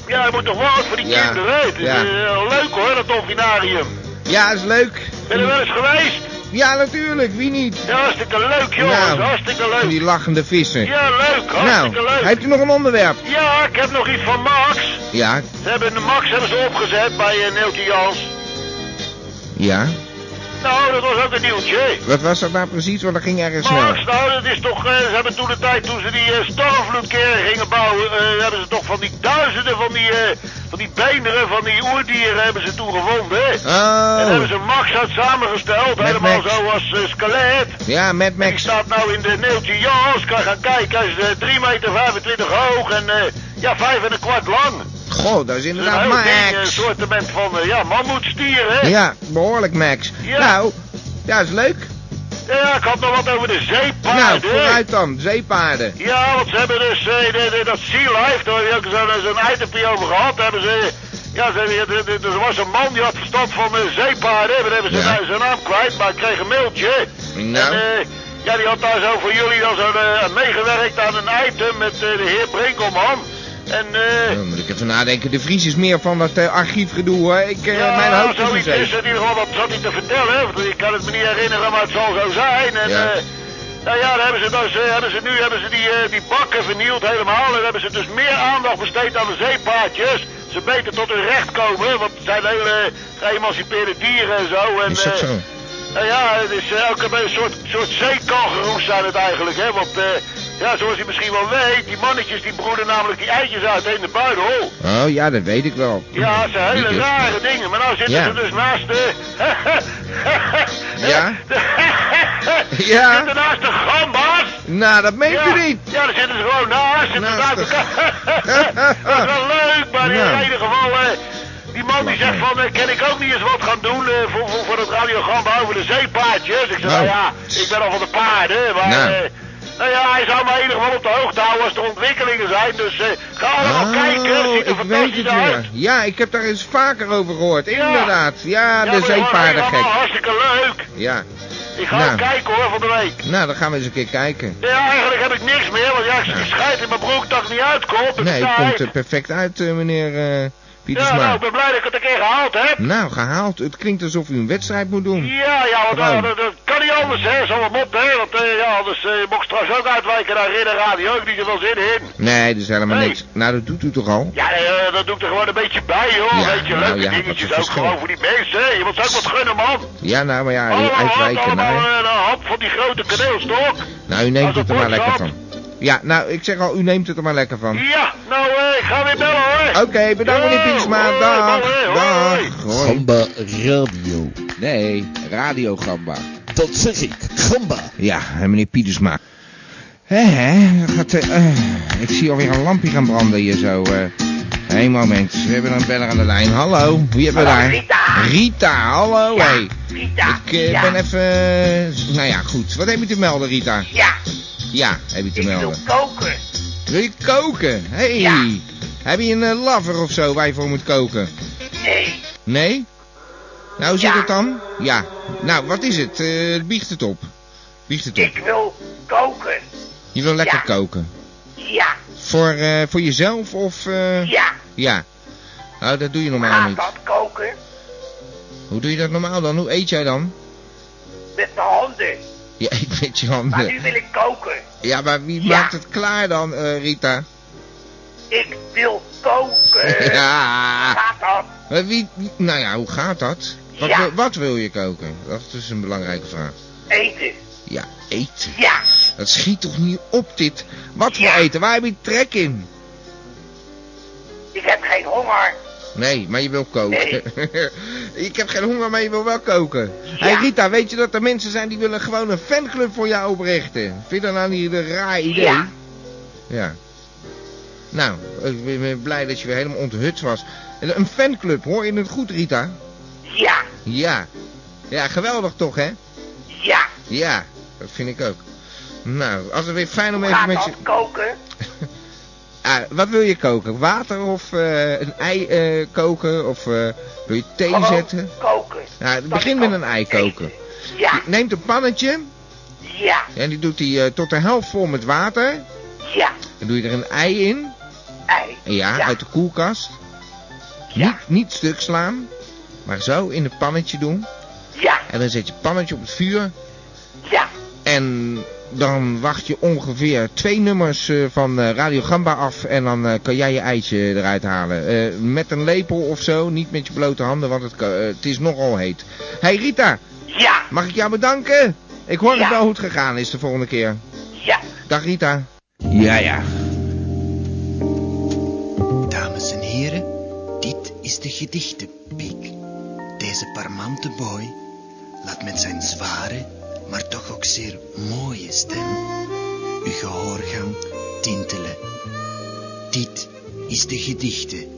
S9: ja, er moet toch wel wat voor die
S2: Ja,
S9: kinderen, hè? Het is,
S2: ja.
S9: eh, leuk hoor, dat dolfinarium.
S2: Ja, is leuk.
S9: Ben je er wel eens geweest?
S2: Ja, natuurlijk. Wie niet?
S9: Ja, hartstikke leuk, jongens.
S2: Nou,
S9: hartstikke
S2: En
S9: leuk.
S2: die lachende vissen.
S9: Ja, leuk. Hartstikke
S2: Nou,
S9: leuk.
S2: heeft u nog een onderwerp?
S9: Ja, ik heb nog iets van Max.
S2: Ja,
S9: Ze hebben, Max hebben ze opgezet bij eh, Neeltje Jans.
S2: ja.
S9: Nou, dat was ook een nieuwtje. hè?
S2: Wat was dat nou precies? Want dat ging erg snel.
S9: Max, nou, dat is toch... eh, ze hebben toen de tijd, toen ze die eh, stormvloedkering gingen bouwen... eh, hebben ze toch van die duizenden van die, eh, van die beenderen, van die oerdieren... hebben ze toen gevonden, hè? En
S2: Oh.
S9: hebben ze Max uit samengesteld,
S2: Met
S9: helemaal
S2: Max.
S9: zo als eh, skelet.
S2: Ja, Mad
S9: Die
S2: Max.
S9: staat nou in de Neeltje Jans, kan gaan kijken. Hij is eh, 3 meter 25 hoog en eh, ja, 5 en een kwart lang.
S2: Goh, dat is
S9: Dus een
S2: inderdaad
S9: heel ding, een
S2: Nou, Max.
S9: soortement van, eh, ja, mammoetstier, hè?
S2: Ja, behoorlijk Max.
S9: Ja.
S2: Nou, ja, is leuk.
S9: Ja, ik had nog wat over de
S2: Nou,
S9: zeepaarden.
S2: vooruit dan. Zeepaarden.
S9: Ja, want ze hebben dus eh, de- de- dat Sea Life, daar heb je ook zo'n zo'n itempje over gehad. Daar hebben ze, ja, ze, hebben- de- de- de- er was een man die had verstand van eh, zeepaarden. Daar hebben ze
S2: Ja.
S9: zijn- zijn naam kwijt, maar ik kreeg een mailtje.
S2: Nou.
S9: En, eh, ja, die had daar zo voor jullie dan zo eh, meegewerkt aan een item met eh, de heer Brinkelman. En eh,
S2: Dan moet ik even nadenken. De Vries is meer van dat eh, archiefgedoe hoor. Ik, eh,
S9: ja,
S2: mijn hoofd is niet
S9: zoiets is
S2: zeker.
S9: in ieder geval, wat zat hij te vertellen? Want ik kan het me niet herinneren, maar het zal zo zijn. En,
S2: Ja.
S9: eh, nou ja, dan hebben ze, dus, eh, hebben ze nu hebben ze die, eh, die bakken vernield helemaal. En hebben ze dus meer aandacht besteed aan de zeepaardjes. Ze beter tot hun recht komen, want het zijn hele geëmancipeerde dieren en zo. En,
S2: Is dat
S9: eh,
S2: zo?
S9: nou ja, het is eh, ook een soort, soort zeekangeroes zijn het eigenlijk, hè. Want, eh, ja, zoals je misschien wel weet, die mannetjes die broeden namelijk die eitjes uit in de buidel.
S2: Oh ja, dat weet ik wel.
S9: Ja, het zijn hele
S2: Niet dus.
S9: rare dingen. Maar nou zitten
S2: Ja.
S9: ze dus naast de...
S2: Ja.
S9: De-
S2: Ja.
S9: Ze zitten naast de gamba's.
S2: Nou, dat meent
S9: ja.
S2: u niet.
S9: Ja, daar zitten ze gewoon naast. Zitten
S2: Naast
S9: naast
S2: de-
S9: elkaar. Dat is wel leuk, maar in
S2: Ja.
S9: ieder geval, eh, die man die zegt van, eh, kan ik ook niet eens wat gaan doen eh, voor, voor, voor het radiogram over de zeepaardjes? Ik zeg,
S2: Nou.
S9: nou ja, ik ben al van de paarden, maar...
S2: Nou.
S9: eh, nou ja, hij zou mij in ieder geval op de hoogte houden als er ontwikkelingen zijn. Dus eh, ga allemaal kijken. Ziet er
S2: Oh, ik weet
S9: fantastisch
S2: het
S9: uit.
S2: weer. Ja, ik heb daar eens vaker over gehoord.
S9: Ja.
S2: Inderdaad. Ja, de
S9: maar jongen,
S2: zeepaardengek.
S9: allemaal Hartstikke leuk.
S2: Ja.
S9: Ik ga
S2: Nou.
S9: ook kijken hoor, van de week.
S2: Nou, dan gaan we eens een keer kijken.
S9: Ja, eigenlijk heb ik niks meer, want ja, ik zit gescheid in mijn broek dat ik niet uitkom. Dus
S2: Nee,
S9: ja,
S2: het komt
S9: hey.
S2: er perfect uit, eh, meneer eh
S9: Ja, nou, ik
S2: Pietersma.
S9: ben blij dat ik het een keer gehaald heb.
S2: Nou, gehaald. Het klinkt alsof u een wedstrijd moet doen.
S9: Ja, ja, want
S2: Gewoon.
S9: eh, dat, dat kan niet anders, hè. Zo'n mop, hè. Want eh, ja, anders eh, mocht ik straks ook uitwijken naar Ridder Radio. Ik niet zoveel zin in.
S2: Nee, dat is helemaal
S9: Hey.
S2: niks. Nou, dat doet u toch al?
S9: Ja, eh, dat doe ik er gewoon een beetje bij, joh.
S2: Ja,
S9: Weet je,
S2: nou
S9: leuke
S2: ja, dat is
S9: dingetjes
S2: het
S9: ook
S2: verschil.
S9: gewoon voor die mensen, hè. Je moet ze ook wat gunnen, man.
S2: Ja, nou, maar ja,
S9: allemaal hand,
S2: uitwijken.
S9: allemaal
S2: Nou,
S9: eh, een hap van die grote kaneelstok.
S2: nou u
S9: als
S2: neemt
S9: het
S2: het er maar
S9: wordt
S2: lekker
S9: gehad.
S2: van. Ja, nou, ik zeg al, u neemt het er maar lekker van.
S9: Ja, nou, eh, ik ga weer bellen, hoor.
S2: Oké, bedankt meneer
S9: Yo,
S2: Pietersma.
S9: hoi,
S2: Dag.
S9: hoi, hoi.
S2: Dag. Hoi.
S5: Gamba Radio.
S2: Nee, Radio Gamba.
S5: Dat zeg ik. Gamba.
S2: Ja, en meneer Pietersma. Hé, hè, gaat, eh, eh, ik zie alweer een lampje gaan branden hier zo. eh. Hé, moment. We hebben een beller aan de lijn. Hallo, wie hebben we daar? Rita. Rita, hallo. hé.
S10: Rita.
S2: Ik eh,
S10: ja.
S2: ben even... eh, nou ja, goed. Wat heb je te melden, Rita?
S10: Ja,
S2: Ja, heb je te
S10: ik wil
S2: melden.
S10: koken.
S2: Wil je koken? Hé. Hey.
S10: Ja.
S2: Heb je een eh, lover of zo waar je voor moet koken?
S10: Nee,
S2: Nee? Nou, hoe zit
S10: Ja.
S2: het dan? Ja. Nou, wat is het? Eh, biecht het op. Biecht het
S10: ik
S2: op.
S10: wil koken.
S2: Je wil lekker
S10: Ja.
S2: koken.
S10: Ja,
S2: Voor, eh, voor jezelf of... eh,
S10: ja.
S2: Ja. Nou, dat doe je normaal
S10: Gaat
S2: niet.
S10: dat koken?
S2: Hoe doe je dat normaal dan? Hoe eet jij dan?
S10: Met mijn handen.
S2: Je eet met je
S10: Maar nu
S2: handen.
S10: wil ik koken.
S2: Ja, maar wie
S10: Ja.
S2: maakt het klaar dan, eh, Rita?
S10: Ik wil koken.
S2: Ja.
S10: Eh, Gaat dat?
S2: Maar Wie, wie- nou ja, hoe gaat dat? Wat,
S10: Ja.
S2: wil, wat wil je koken? Dat is een belangrijke vraag.
S10: Eten.
S2: Ja, eten.
S10: Ja,
S2: Dat schiet toch niet op dit? Wat voor
S10: Ja.
S2: eten? Waar heb je trek in?
S10: ik heb geen honger.
S2: Nee, maar je wil koken. ik heb geen honger, maar je wil wel koken. Hé
S10: Ja.
S2: Rita, weet je dat er mensen zijn die willen gewoon een fanclub voor jou oprichten? Vind je dat nou niet een raar idee?
S10: Ja.
S2: Ja. Nou, ik ben- ben blij dat je weer helemaal onthut was. Een een fanclub, hoor je het goed, Rita?
S10: Ja,
S2: Ja. Ja, geweldig toch, hè?
S10: ja.
S2: Ja, dat vind ik ook. Nou, als het weer fijn om even
S10: Gaat
S2: met je...
S10: dat koken?
S2: Ah, wat wil je koken? Water of eh, een ei eh, koken? Of eh, wil je thee
S10: Gewoon
S2: zetten?
S10: koken.
S2: Nou,
S10: Dat
S2: begin
S10: ik
S2: met
S10: ook
S2: een ei
S10: eten.
S2: koken.
S10: Ja,
S2: Je neemt een pannetje
S10: ja,
S2: en die doet hij eh, tot de helft vol met water.
S10: ja.
S2: Dan doe je er een ei in.
S10: Ei.
S2: En ja,
S10: ja.
S2: uit de koelkast.
S10: Ja,
S2: Niet, niet stuk slaan, maar zo in het pannetje doen.
S10: ja,
S2: En dan zet je het pannetje op het vuur.
S10: ja.
S2: En dan wacht je ongeveer twee nummers eh, van eh, Radio Gamba af. En dan eh, kan jij je eitje eruit halen. Eh, met een lepel of zo. Niet met je blote handen, want het, kan- eh, het is nogal heet. hey Rita,
S10: Ja,
S2: mag ik jou bedanken? Ik hoor het
S10: Ja.
S2: wel hoe het gegaan is de volgende keer.
S10: ja.
S2: Dag Rita. Ja, ja.
S11: Dames en heren, dit is de gedichtenpiek. Deze parmante boy laat met zijn zware, maar toch ook zeer mooie stem uw gehoorgang tintelen. Dit is de gedichtenpiek.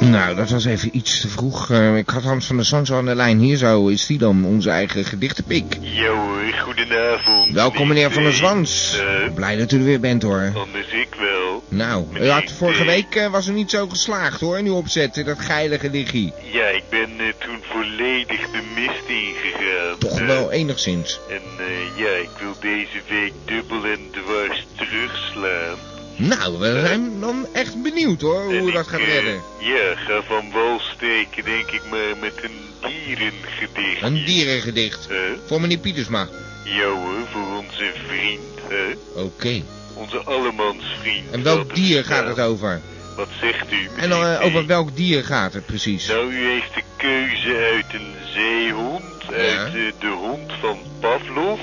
S2: Nou, dat was even iets te vroeg. Eh, ik had Hans van der Sans aan de lijn. Hier zo is die dan, onze eigen gedichtenpik.
S9: Yo, goedenavond. eh,
S2: Welkom meneer van der Zwans. Blij dat u er weer bent hoor.
S9: Anders ik wel.
S2: Nou, u had vorige week eh, was u niet zo geslaagd hoor, in uw opzet, in dat geile gedichtie.
S9: Ja, ik ben eh, toen volledig de mist ingegaan.
S2: Toch
S9: Eh,
S2: wel enigszins.
S9: En eh, ja, ik wil deze week dubbel en dwars terugslaan.
S2: Nou, we zijn dan echt benieuwd hoor,
S9: Eh. En
S2: hoe u dat
S9: ik,
S2: gaat
S9: eh,
S2: redden.
S9: Ja, ga van wal steken, denk ik maar, met een dierengedicht.
S2: Een dierengedicht. Voor meneer Pietersma.
S9: ja hoor, voor onze vriend, hè?
S2: Oké.
S9: Onze allemansvriend.
S2: En
S9: laat
S2: welk
S9: hem
S2: dier gaat
S9: staan.
S2: het over?
S9: Wat zegt u?
S2: En dan, eh,
S9: meneer
S2: over
S9: B?
S2: welk dier gaat het precies?
S9: Nou, u heeft de keuze uit een zeehond, uit eh, de hond van Pavlov,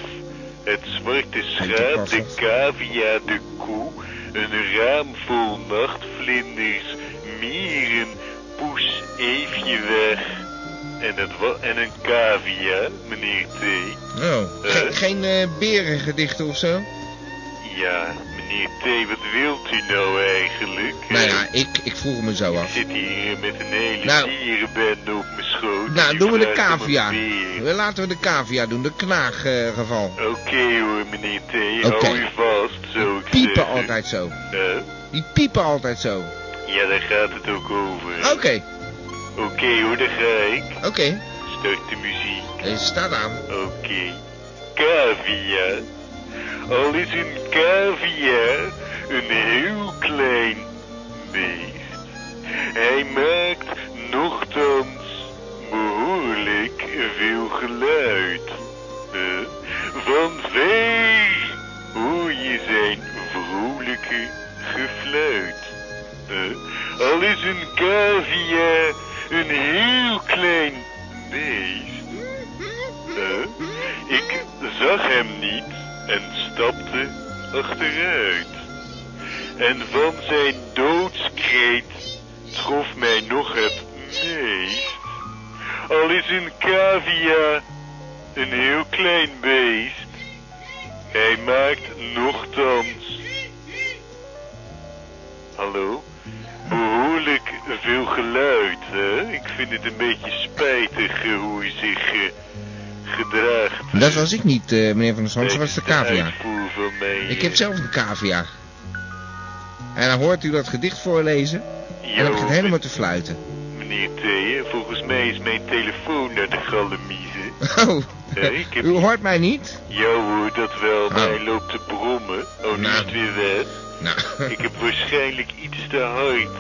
S9: het zwarte schaap, de
S2: Pavlov.
S9: cavia, de koe, een raam vol nachtvlinders, mieren, poes, eefje weg. En, het wa- en een cavia, meneer T.
S2: Oh, ge- geen eh, berengedichten of zo?
S9: Ja, meneer
S12: Meneer T, wat wilt u nou eigenlijk?
S2: Nou ja, ik, ik vroeg me zo
S12: Ik
S2: af.
S12: zit hier eh, met een hele
S2: Nou.
S12: dierenbende op mijn schoot.
S2: Nou,
S12: U
S2: doen we de
S12: vraagt om een
S2: cavia.
S12: beer.
S2: We- Laten we de cavia doen, de knaaggeval.
S12: Oké hoor, meneer T,
S2: Oké.
S12: hou u vast, zou ik
S2: Piepen
S12: zeggen.
S2: altijd zo.
S12: Eh,
S2: Die piepen altijd zo.
S12: ja, daar gaat het ook over.
S2: Oké,
S12: Oké hoor, daar ga ik.
S2: oké.
S12: Start de muziek.
S2: Eh, staat aan.
S12: Oké. Cavia. Al is een cavia een heel klein beest. Hij maakt nochtans behoorlijk veel geluid. Eh, van vee hoor je zijn vrolijke gefluit. Eh, al is een cavia een heel klein beest. Eh, ik zag hem niet en stapte achteruit. En van zijn doodskreet trof mij nog het meest. Al is een cavia een heel klein beest. Hij maakt nochtans... Hallo? Behoorlijk veel geluid, hè? Ik vind het een beetje spijtig eh, hoe hij zich eh, gedraagt.
S2: Dat was ik niet, eh, meneer Van der Sand, dat was de cavia.
S12: Uitvoer van mij.
S2: Ik heb zelf een cavia. En dan hoort u dat gedicht voorlezen. En dan heb ik het helemaal te fluiten.
S12: Meneer T, hè, volgens mij is mijn telefoon naar de gallemiezen.
S2: Oh,
S12: Eh, ik heb...
S2: u hoort mij niet?
S12: Ja hoor, dat
S2: Oh.
S12: wel, maar hij loopt te brommen. Oh, nu is het weer weg.
S2: Nou.
S12: ik heb waarschijnlijk iets te hard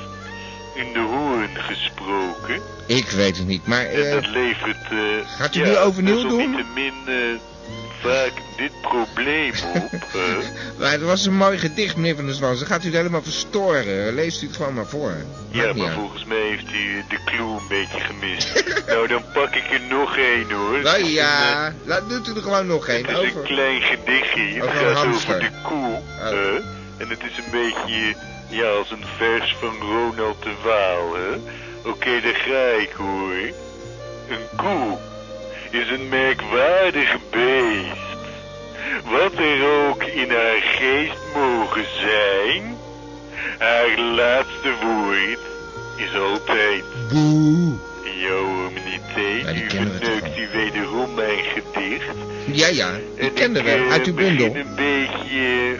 S12: in de hoorn gesproken.
S2: Ik weet het niet, maar...
S12: En
S2: eh,
S12: dat levert... eh,
S2: gaat u
S12: ja,
S2: nu overnieuw doen?
S12: desalniettemin eh, vaak dit probleem op. eh.
S2: maar het was een mooi gedicht, meneer Van der Zwans. Dan gaat u het helemaal verstoren. Leest u het gewoon maar voor.
S12: ja,
S2: Maakt niet
S12: maar
S2: uit.
S12: volgens mij heeft hij de clue een beetje gemist. nou, dan pak ik er nog één hoor.
S2: Nou
S12: Het is een,
S2: ja, laat, doet u er gewoon nog
S12: eh,
S2: één.
S12: het is een
S2: Over.
S12: klein gedichtje. Het
S2: over een
S12: gaat
S2: hamster.
S12: over de koe. hè. en het is een beetje eh, ja, als een vers van Ronald de Waal. hè. Oké, daar ga ik hoor. Een koe is een merkwaardig beest. Wat er ook in haar geest mogen zijn, haar laatste woord is altijd.
S2: Boe.
S12: Ja hoor, meneer T. u verneukt u wederom mijn gedicht.
S2: Ja, ja.
S12: En
S2: Ik kende
S12: eh,
S2: wel, uit uw bundel.
S12: begin een beetje,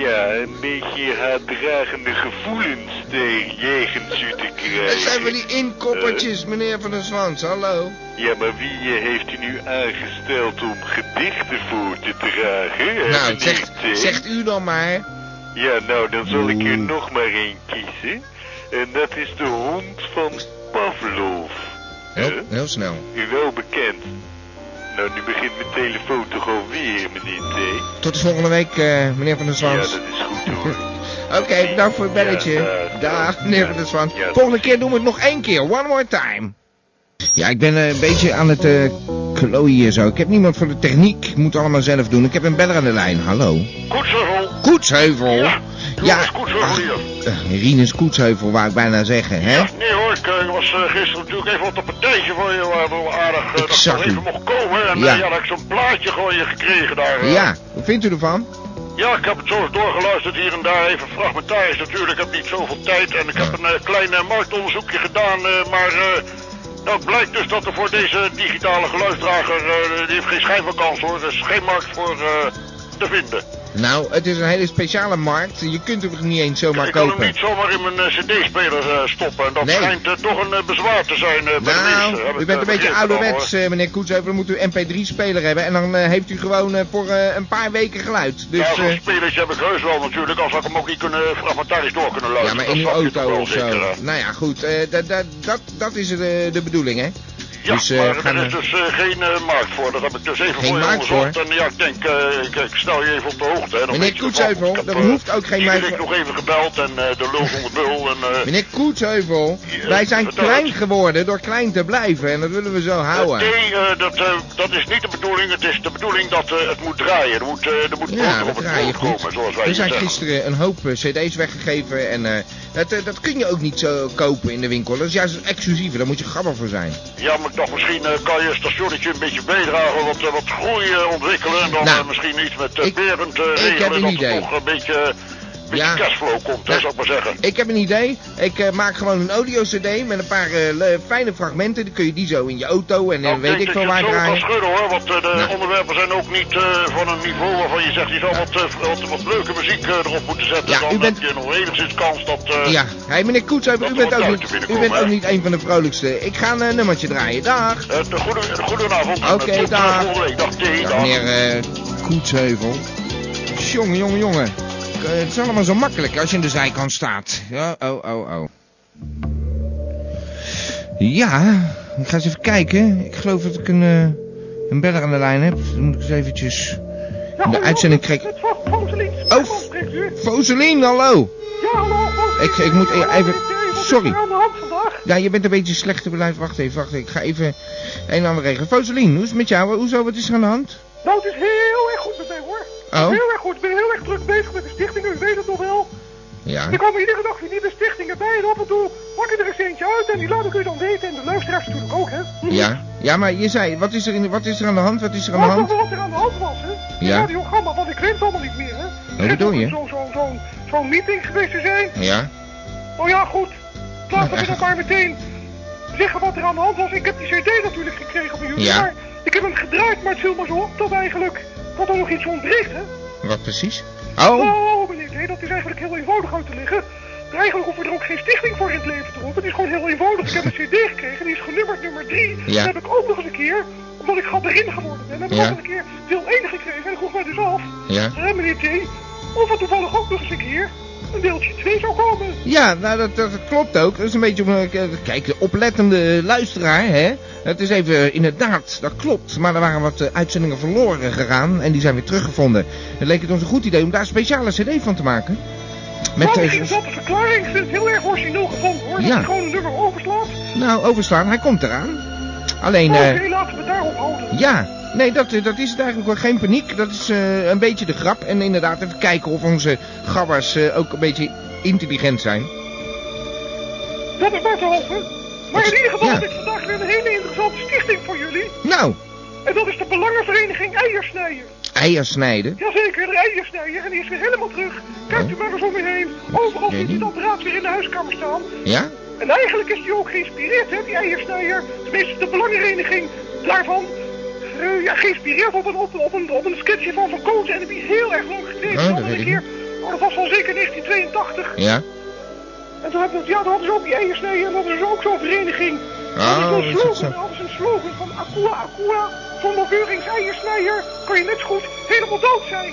S12: ja, een beetje haatdragende gevoelens tegen jegens u te krijgen.
S2: Dat zijn van die
S12: Eh,
S2: inkoppertjes, meneer Van der Zwans. Hallo.
S12: Ja, maar wie eh, heeft u nu aangesteld om gedichten voor te dragen? hè,
S2: Nou,
S12: meneer
S2: zegt,
S12: T?
S2: zegt u dan maar.
S12: Ja, nou, dan zal ik er nog maar één kiezen. En dat is de hond van Pavlov. Eh,
S2: Heel, heel snel.
S12: U wel bekend. Nou, nu begint mijn telefoon toch alweer, meneer T.
S2: Tot de volgende week, eh, meneer Van der Zwans.
S12: Ja, dat is goed hoor.
S2: Oké, bedankt voor het belletje.
S12: Ja, eh,
S2: Dag,
S12: dag.
S2: meneer Van der Zwans. Volgende keer doen we het nog één keer. One more time. Ja, ik ben eh, een beetje aan het eh klooien hier zo. Ik heb niemand voor de techniek. Ik moet allemaal zelf doen. Ik heb een beller aan de lijn. Hallo.
S9: Koetsheuvel.
S2: Koetsheuvel. Oh. Ja,
S9: Koetsheuvel hier.
S2: eh, Rinus Koetsheuvel, wou ik bijna zeggen, hè?
S9: Nee hoor, ik eh, was eh, gisteren natuurlijk even op een partijtje voor je, waar we aardig eh, dat
S2: zag
S9: ik
S2: u.
S9: even mocht komen. En eh,
S2: Ja.
S9: ja, ja had ik zo'n plaatje gewoon je gekregen daar. eh.
S2: Ja, wat vindt u ervan?
S9: Ja, ik heb het zo eens doorgeluisterd hier en daar, even fragmentarisch natuurlijk. Ik heb niet zoveel tijd en ik heb een eh, klein eh, marktonderzoekje gedaan. eh, maar eh nou blijkt dus dat er voor deze digitale geluidsdrager, eh, die heeft geen schijn van kans hoor. Er is geen markt voor eh, te vinden.
S2: Nou, het is een hele speciale markt. Je kunt hem niet eens zomaar
S9: ik kan hem
S2: kopen.
S9: niet zomaar in mijn eh, cd-speler eh, stoppen. En dat
S2: Nee.
S9: schijnt eh, toch een eh, bezwaar te zijn eh, bij de
S2: Nou,
S9: meesten. heb ik,
S2: u bent
S9: eh,
S2: een beetje
S9: begrepen al,
S2: ouderwets,
S9: hoor.
S2: eh, meneer Koetsheuvel. Dan moet u een MP3-speler hebben. En dan eh, heeft u gewoon eh, voor eh, een paar weken geluid. Dus,
S9: ja, zo'n
S2: eh,
S9: spelers heb ik heus wel natuurlijk, als ik hem ook niet kunnen, eh, fragmentarisch door kunnen
S2: ja,
S9: luisteren.
S2: maar in uw
S9: Dat snap je toch
S2: auto
S9: wel
S2: of zo.
S9: zeker, hè?
S2: Nou ja, goed. eh, dat- dat- dat- Dat is de, de bedoeling, hè?
S9: Ja,
S2: dus, eh,
S9: maar
S2: gaan
S9: er
S2: we-
S9: is dus eh, geen eh, markt voor. Dat heb ik dus even
S2: Geen
S9: voor je
S2: markt
S9: onderzocht. En ja, ik denk, eh, ik, ik stel je even op de hoogte. Hè, dan
S2: Meneer
S9: weet je
S2: Koetsheuvel,
S9: ervan. Ik heb,
S2: er
S9: eh,
S2: hoeft ook geen
S9: die
S2: markt
S9: week
S2: voor-
S9: nog even gebeld en eh, de lul van de bul. En, eh,
S2: Meneer Koetsheuvel,
S9: Ja,
S2: wij zijn
S9: vertel
S2: klein
S9: het.
S2: geworden door klein te blijven. En dat willen we zo houden.
S9: Nee, eh, dat, eh, dat is niet de bedoeling. Het is de bedoeling dat eh, het moet draaien. Er moet, eh er moet boter
S2: Ja, we
S9: op het
S2: draaien
S9: brood
S2: goed.
S9: komen, zoals wij
S2: Er
S9: hier
S2: zijn
S9: zeggen.
S2: gisteren een hoop eh, cd's weggegeven en eh, dat, eh, dat kun je ook niet zo kopen in de winkel. Dat is juist het exclusieve, daar moet je gamma voor zijn.
S9: Ja, maar ik dacht, misschien eh, kan je stationnetje een beetje bijdragen, wat, eh, wat groei eh, ontwikkelen. En dan
S2: Nou,
S9: eh, misschien iets met eh, Berend eh,
S2: ik heb
S9: regelen,
S2: een
S9: dat
S2: idee.
S9: er toch een beetje, eh, een beetje
S2: Ja.
S9: cashflow komt, hè, zou ik maar zeggen.
S2: Ik heb een idee. Ik eh, maak gewoon een audio-cd met een paar eh, le- fijne fragmenten. Dan kun je die zo in je auto en eh,
S9: denk
S2: weet ik
S9: dat
S2: veel
S9: je
S2: waar
S9: het zo kan
S2: draaien.
S9: schudden hoor, want eh, de onderwerpen zijn ook niet eh, van een niveau waarvan je zegt, je zou wat, eh, wat, wat leuke muziek eh, erop moeten zetten. dan heb je nog enigszins kans dat... eh,
S2: Ja, hey, meneer Koets, u
S9: er
S2: bent,
S9: wat
S2: ook
S9: uit te
S2: niet, u
S9: binnenkomen,
S2: bent ook
S9: hè?
S2: niet een van de vrolijkste. Ik ga een eh, nummertje draaien. Dag.
S9: eh, de goede, de goedenavond. en, eh,
S2: Oké,
S9: tot, eh,
S2: dag.
S9: volgende week. Dag, Thee,
S2: Dag,
S9: dag.
S2: meneer eh, Koetsheuvel. Jongen, jongen, jongen. Eh, Het is allemaal zo makkelijk als je in de zijkant staat. Ja, oh, oh, oh. Ja, ik ga eens even kijken. Ik geloof dat ik een, eh, een beller aan de lijn heb. Dan moet ik eens eventjes... in de uitzending kreeg... Oh, Foselien, hallo.
S13: Ja, hallo.
S2: Ik, ik moet e- even... Sorry.
S13: Aan de hand vandaag.
S2: Ja, je bent een beetje slecht te beluisteren. Wacht even, wacht even. Ik ga even een en ander regelen. Foselien, hoe is het met jou? Hoezo, wat is er aan de hand?
S13: Nou, het is heel erg goed met mij hoor.
S2: Oh.
S13: Heel erg goed. Ik ben heel erg druk bezig met de stichtingen. U weet het nog wel.
S2: Ja.
S13: Er komen iedere dag weer nieuwe stichtingen bij. En af en toe pak ik er eens eentje uit. En die laat ik u dan weten. En de luisteraars natuurlijk ook, hè.
S2: Ja, ja maar je zei, wat is, er in, wat is er aan de hand? Wat is er aan de
S13: Wat-
S2: hand?
S13: Wat er aan de hand was, hè? Die
S2: Ja.
S13: radiogramma, want ik weet het allemaal niet meer, hè?
S2: Wat bedoel je?
S13: Zo'n zo, zo, zo'n meeting geweest te zijn.
S2: Ja,
S13: Oh ja, goed. Laten we dan maar meteen zeggen wat er aan de hand was. Ik heb die cd natuurlijk gekregen van jullie,
S2: Ja.
S13: maar ik heb hem gedraaid, maar het viel maar zo op dat eigenlijk dat er nog iets ontbreekt, hè?
S2: wat precies? Oh,
S13: Nou, meneer D, dat is eigenlijk heel eenvoudig uit te leggen. Eigenlijk hoeven we er ook geen stichting voor in het leven te roepen. Het is gewoon heel eenvoudig. Ik heb een cd gekregen, die is genummerd nummer 3.
S2: Ja.
S13: Dat heb ik ook nog eens een keer, omdat ik gatterin geworden ben, heb ik
S2: Ja.
S13: ook nog een keer deel 1 gekregen. En ik vroeg mij dus af,
S2: Ja.
S13: hè, meneer D, of er toevallig ook nog eens een keer een deeltje 2 zou komen.
S2: ja, nou dat, dat klopt ook. Dat is een beetje, om, eh, kijk, de oplettende luisteraar, hè. Het is even, eh, inderdaad, dat klopt. Maar er waren wat eh, uitzendingen verloren gegaan en die zijn weer teruggevonden. Het leek het ons een goed idee om daar een speciale cd van te maken. Met
S13: nou,
S2: eh,
S13: misschien is dat de verklaring. Ik vind het heel erg origineel gevonden hoor.
S2: Ja.
S13: Dat je gewoon een nummer overslaat.
S2: Nou, overslaan, hij komt eraan. Alleen,
S13: Oké,
S2: eh...
S13: laten we daarop houden.
S2: Ja, nee, dat, eh, dat is het eigenlijk wel. Geen paniek. Dat is eh, een beetje de grap. En inderdaad, even kijken of onze gabbers eh, ook een beetje intelligent zijn.
S13: Dat is maar te hopen. Maar in ieder geval
S2: Ja.
S13: heb ik vandaag weer een hele interessante stichting voor jullie.
S2: Nou,
S13: En dat is de Belangenvereniging Eiersnijer.
S2: eieren snijden.
S13: Jazeker, de Eiersnijer. En die is weer helemaal terug. Kijkt u maar eens om u heen. Overal ziet u het apparaat weer in de huiskamer staan.
S2: Ja?
S13: En eigenlijk is die ook geïnspireerd, hè, die eiersnijer. Tenminste, de belangenvereniging daarvan. eh, ja, geïnspireerd op een, op, een- op, een, op een sketchje van Van Koot. En die is heel erg lang geleden.
S2: Oh, dat
S13: hadden we
S2: weet
S13: een
S2: ik
S13: keer- oh, dat was al zeker 1982.
S2: Ja?
S13: En toen hadden, we- ja, toen hadden ze ook die eiersnijer. En dat is dus ook zo'n vereniging.
S2: Oh,
S13: dat
S2: is
S13: is
S2: dat
S13: een
S2: zo?
S13: slogan. Dat is een slogan van Akua Akua. Zonder Beurings eiersnijer kan je net zo goed helemaal dood zijn.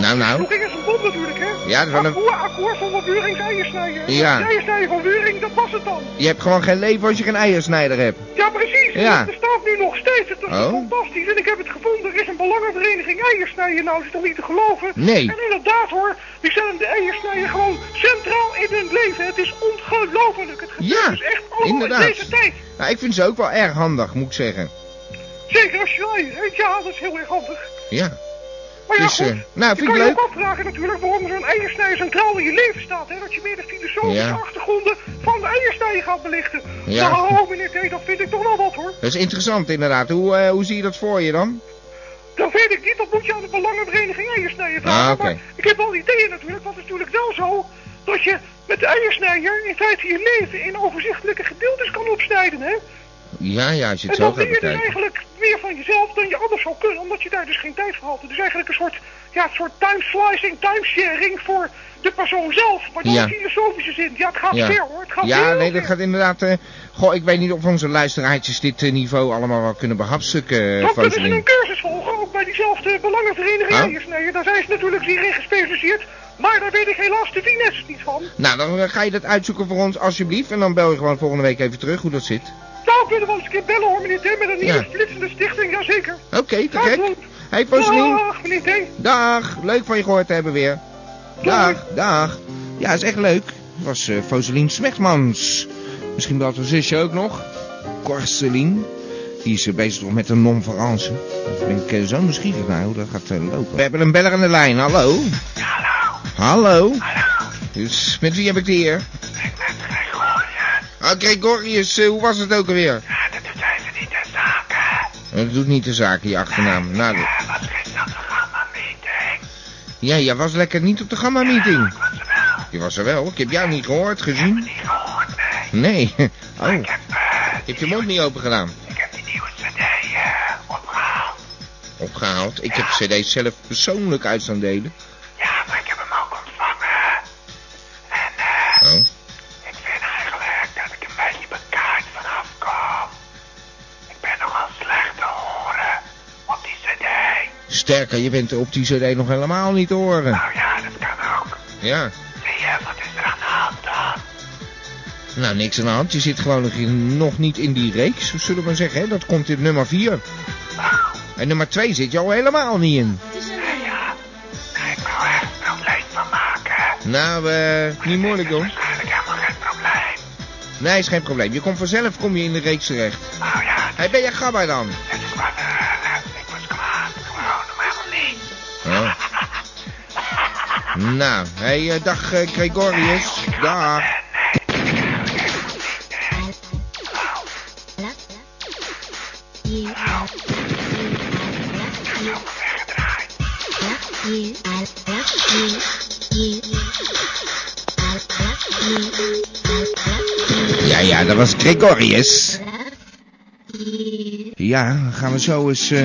S2: Nou, nou.
S13: Toen ging er een bom natuurlijk, hè?
S2: Ja, dat is wel een-
S13: Akua Akua zonder Beurings eiersnijer.
S2: Ja.
S13: De eiersnijer van Beuring, dat was het dan.
S2: Je hebt gewoon geen leven als je geen eiersnijder hebt.
S13: Ja, precies.
S2: Ja.
S13: Er staat nu nog steeds. Het is
S2: Oh.
S13: fantastisch. En ik heb het gevonden. Er is een belangenvereniging eiersnijen. Nou, is toch niet te geloven?
S2: Nee.
S13: En inderdaad hoor, die stellen de eiersnijen gewoon centraal in hun leven. Het is ongelooflijk. Het gebeurt
S2: Ja,
S13: dus echt allemaal in
S2: inderdaad.
S13: deze tijd.
S2: Nou, ik vind ze ook wel erg handig, moet ik zeggen.
S13: Zeker als je eieren eet. Ja, dat is heel erg handig.
S2: Ja.
S13: Maar Oh ja,
S2: Dus,
S13: goed.
S2: eh, nou,
S13: je
S2: vind ik
S13: kan je
S2: leuk.
S13: ook afvragen natuurlijk waarom zo'n eiersnijer centraal in je leven staat. Hè? Dat je meer de filosofische
S2: Ja.
S13: achtergronden van de eiersnijer gaat belichten.
S2: Ja.
S13: Nou, meneer T, dat vind ik toch wel wat hoor.
S2: Dat is interessant, inderdaad. Hoe, eh, hoe zie je dat voor je dan?
S13: Dat weet ik niet, dat moet je aan de belangenvereniging eiersnijer vragen.
S2: Ah, oké.
S13: Nou, Maar ik heb wel ideeën natuurlijk, want het is natuurlijk wel zo dat je met de eiersnijer in feite je leven in overzichtelijke gedeeltes kan opsnijden, hè?
S2: Ja, ja, als je het
S13: en
S2: zo
S13: dan
S2: gaat
S13: leer je dus
S2: bekijken.
S13: eigenlijk meer van jezelf dan je anders zou kunnen, omdat je daar dus geen tijd voor had. Het is eigenlijk een soort, ja, een soort time slicing, time sharing voor de persoon zelf, maar dan
S2: Ja.
S13: in filosofische zin. Ja, het gaat
S2: Ja.
S13: ver hoor, het gaat
S2: ja,
S13: heel
S2: nee,
S13: ver.
S2: dat gaat inderdaad... eh, goh, ik weet niet of onze luisteraartjes dit eh, niveau allemaal wel kunnen behapstukken, eh,
S13: Dan kunnen ze
S2: Foselien.
S13: een cursus volgen, ook bij diezelfde belangenvereniging
S2: Ah.
S13: eiersnijer. Daar zijn ze natuurlijk zeer in gespecialiseerd, maar daar weet ik helaas de finesse niet van.
S2: Nou, dan eh, ga je dat uitzoeken voor ons alsjeblieft. En dan bel je gewoon volgende week even terug hoe dat zit.
S13: Nou, kunnen we ons een keer bellen hoor, meneer T. Met een nieuwe
S2: Ja.
S13: flitsende stichting, jazeker.
S2: Oké, te gek. Hey, Foselien.
S13: Dag, meneer T.
S2: Dag. Leuk van je gehoord te hebben weer. Dag, dag. Ja, is echt leuk. Dat was eh Foselien Smechtmans. Misschien belt haar zusje ook nog. Corseline. Die is eh, bezig nog met een non-France. Daar ben ik eh, zo nieuwsgierig naar hoe dat gaat eh, lopen. We hebben een beller aan de lijn. Hallo. Hallo. Hallo. Dus met wie heb ik de eer? Ik ben Gregorius. Ah, Gregorius, eh, hoe was het ook alweer? Eh, Dat doet niet de zaak, die achternaam. Nou, dat- Ja, jij was lekker niet op de gamma-meeting. Je was er wel. Ik heb jou niet gehoord, gezien. Ik heb niet gehoord, nee. Nee. Oh. Je hebt je mond niet open gedaan. Ik heb die nieuwe cd opgehaald. Opgehaald? Ik heb de cd zelf persoonlijk uit staan delen. Ja, maar ik heb hem ook ontvangen. En, oh. Sterker, je bent op die cd nog helemaal niet te horen. Nou ja, dat kan ook. Ja. Nou, niks aan de hand. Je zit gewoon nog in- nog niet in die reeks, zullen we maar zeggen. Hè? Dat komt in nummer 4. En nummer 2 zit je al helemaal niet in. Nou, eh, niet moeilijk hoor. Nee, is geen probleem. Je komt vanzelf kom je in de reeks terecht. Oh ja. Hey, ben je gabber dan?
S10: eh,
S2: Oh. Nou, hey, eh, dag eh, Gregorius. Dag. Ja, ja, dat was Gregorius. Ja, dan gaan we zo eens eh,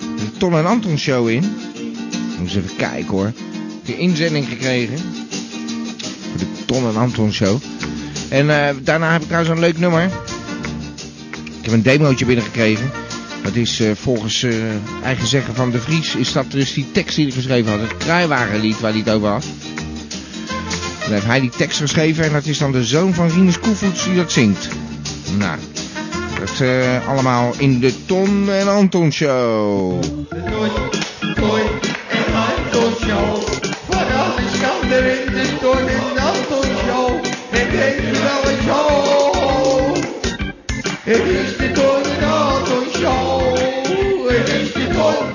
S2: de Ton en Anton show in. Moet eens even kijken hoor. Ik heb een inzending gekregen. Voor de Ton en Anton show. En eh, daarna heb ik trouwens een leuk nummer. Ik heb een demootje binnengekregen. Dat is eh, volgens eh, eigen zeggen van de Vries. Is dat dus die tekst die hij geschreven had. Het kruiwagenlied waar hij het over had. Dan heeft hij die tekst geschreven en dat is dan de zoon van Rinus Koevoets die dat zingt. Nou, dat eh, allemaal in de Ton en Anton Show.
S6: Het is de Don en Anton Show. Het is de Don,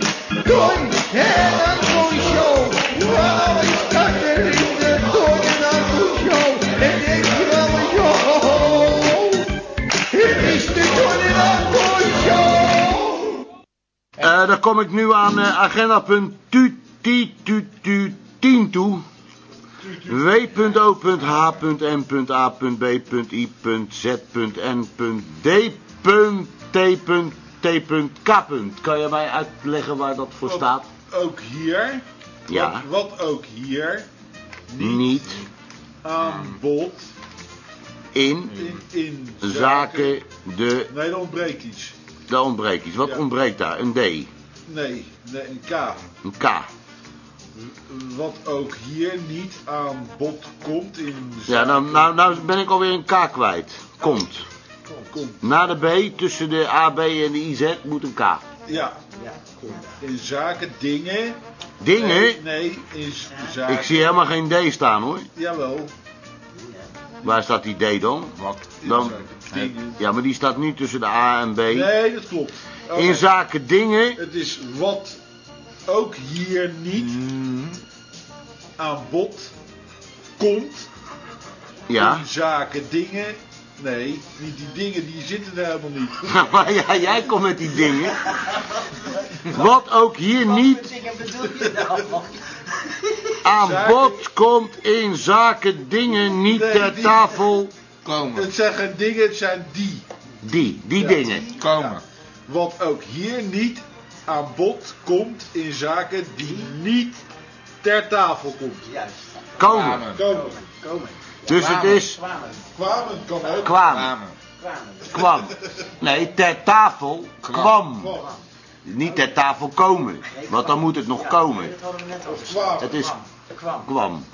S6: Don en Anton Show. Wauw, ik sta er in de Don en Anton Show. En denk je wel een show. Het is de Don en Anton Show.
S14: Eh dan kom ik nu aan eh, agenda punt tu- ti- tu- tu- 10 toe. w.o.h.m.a.b.i.z.n.d.t.t.k. Kan je mij uitleggen waar dat voor staat?
S15: Ook hier.
S14: Ja.
S15: Wat, wat ook hier.
S14: Niet
S15: Aan bod.
S14: in
S15: In, in
S14: zaken de...
S15: Nee, er ontbreekt iets.
S14: Daar ontbreekt iets. Wat ontbreekt daar? Een D,
S15: Nee, nee, een K.
S14: een K.
S15: Wat ook hier niet aan bod komt in
S14: Ja, nou, nou, nou ben ik alweer een K kwijt. Komt.
S15: Komt.
S14: Na de B, tussen de AB en de IZ, moet een K.
S15: Ja. In zaken dingen.
S14: Dingen?
S15: Nee, nee, in z- zaken.
S14: Ik zie helemaal geen D staan hoor.
S15: Jawel.
S14: Waar staat die D dan? Wat? dan ja, maar die staat nu tussen de A en B.
S15: Nee, dat klopt. Oké.
S14: In zaken dingen.
S15: Het is wat ook hier niet
S14: Mm.
S15: aan bod komt.
S14: Ja.
S15: In zaken dingen. Nee, niet die dingen, die zitten er helemaal niet.
S14: maar ja, jij komt met die dingen. Wat ook hier niet aan bod komt in zaken dingen niet
S15: Nee,
S14: ter
S15: die-
S14: tafel komen.
S15: Het zijn geen dingen, het zijn die.
S14: Die, die
S15: Ja.
S14: dingen.
S15: Komen. Wat ook hier niet aan bod komt in zaken die niet ter tafel komt. Juist.
S14: Komen.
S15: Komen. Komen.
S14: Dus het is
S15: Kwamen kan ook.
S14: kwam. Kwam. Nee, ter tafel kwam. Niet ter tafel komen. Want dan moet het nog komen. Het is kwam.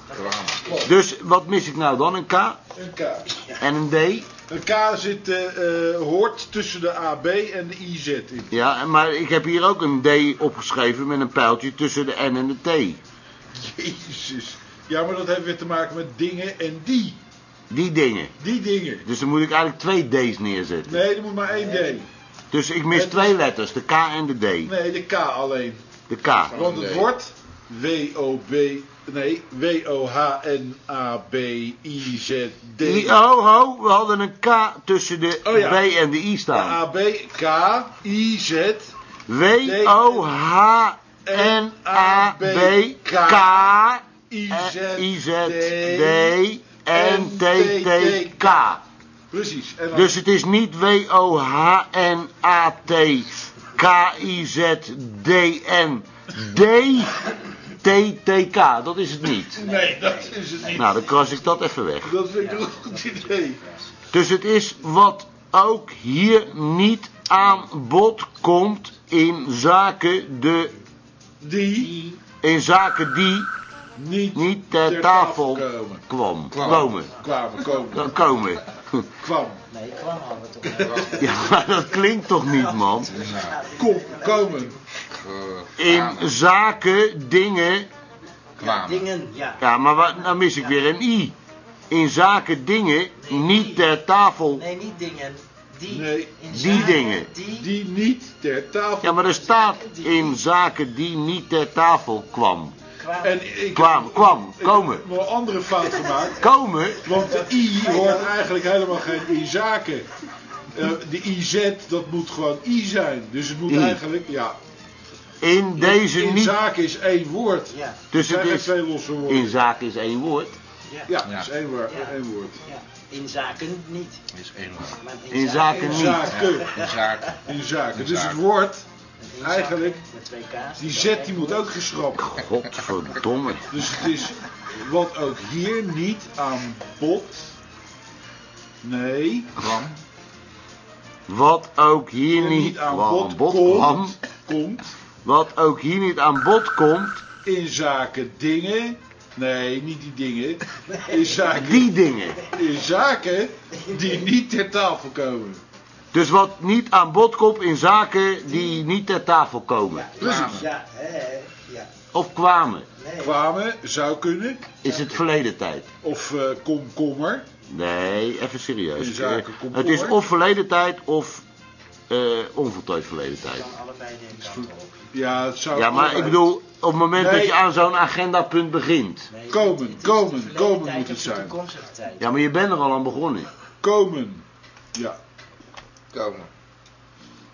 S14: Dus wat mis ik nou dan? Een K
S15: Een K.
S14: en een D?
S15: Een K zit, eh, eh, hoort tussen de AB en de IZ in.
S14: Ja, en- maar ik heb hier ook een D opgeschreven met een pijltje tussen de N en de T.
S15: Jezus. Ja, maar dat heeft weer te maken met dingen en die.
S14: Die dingen.
S15: Die dingen.
S14: Dus dan moet ik eigenlijk twee D's neerzetten.
S15: Nee, er moet maar één D.
S14: Dus ik mis twee letters, de K en de D.
S15: Nee, de K alleen.
S14: De K.
S15: Want het wordt W-O-B... Nee, W-O-H-N-A-B-I-Z-D...
S14: Die, ho, ho, we hadden een K tussen de
S15: Oh ja.
S14: B en de I staan.
S15: A-B-K-I-Z...
S14: W-O-H-N-A-B-K-I-Z-D-N-T-T-K.
S15: Precies. En dan-
S14: Dus het is niet W-O-H-N-A-T-K-I-Z-D-N-D-T-T-K. Dat is het niet.
S15: Nee, dat is het niet.
S14: Nou, dan kras ik dat even weg.
S15: Dat vind ik een goed idee.
S14: Dus het is wat ook hier niet aan bod komt in zaken de...
S15: Die.
S14: In zaken die...
S15: Niet,
S14: ter
S15: ter
S14: tafel,
S15: tafel komen.
S14: kwam.
S15: Kwam.
S14: Komen.
S15: Kwamen, komen.
S14: Dan komen.
S15: Kwam.
S16: Nee, kwam hadden we toch.
S14: Ja, maar dat klinkt toch niet, man?
S15: Nou. Kom, komen.
S14: In zaken dingen...
S16: Dingen, ja.
S14: Ja, maar wat, nou mis ik weer een i. In zaken dingen niet ter tafel.
S16: Nee, niet dingen. Die. In
S14: Die
S16: zaken
S14: dingen.
S16: Die.
S15: niet ter tafel.
S14: Ja, maar er staat in zaken die niet ter tafel kwam.
S15: En ik
S14: Kwam, kwam, komen.
S15: heb nog een andere fout gemaakt.
S14: Komen?
S15: Want de I hoort eigenlijk helemaal geen I-zaken. Eh, de IZ, dat moet gewoon I zijn. Dus het moet
S14: I.
S15: eigenlijk, ja.
S14: In deze
S15: in
S14: niet-
S15: zaken is één woord.
S16: Ja.
S14: Dus
S15: er
S14: het
S15: zijn
S14: is-
S15: geen twee losse woorden.
S14: In zaken is één woord.
S16: Ja.
S15: Ja, dat is één woord. één woord.
S16: In zaken niet.
S15: Is één woord.
S16: Maar
S14: In zaken
S15: In
S14: niet.
S15: zaken.
S16: Ja, in zaken.
S15: In zaken.
S16: In
S15: Dus het
S16: zaken.
S15: woord, eigenlijk,
S16: Met twee K's.
S15: die Z die moet ook geschrapt.
S14: Godverdomme.
S15: Dus het is wat ook hier niet aan bod. Nee. Kwam.
S14: Wat ook hier niet,
S15: aan
S14: wat
S15: bod
S14: aan bod
S15: komt,
S14: kwam.
S15: komt.
S14: Wat ook hier niet aan bod komt.
S15: In zaken dingen. Nee, niet die dingen. In zaken,
S14: Die dingen.
S15: In zaken die niet ter tafel komen.
S14: Dus wat niet aan bod komt in zaken die niet ter tafel komen.
S15: Precies.
S16: Ja, hè, hè. Ja.
S14: Of kwamen.
S15: Kwamen, zou kunnen.
S14: Is het verleden tijd?
S15: Of eh, komkommer.
S14: Nee, even serieus. Eh,
S15: In zaken komt
S14: het is
S15: voor.
S14: of verleden tijd of eh, onvoltooid verleden tijd.
S15: Ja, het zou
S14: Ja, maar ik bedoel, op het moment
S15: Nee.
S14: dat je aan zo'n agendapunt begint.
S15: Komen, komen, komen moet het zijn.
S14: Ja, maar je bent er al aan begonnen.
S15: Komen. Ja. Komen.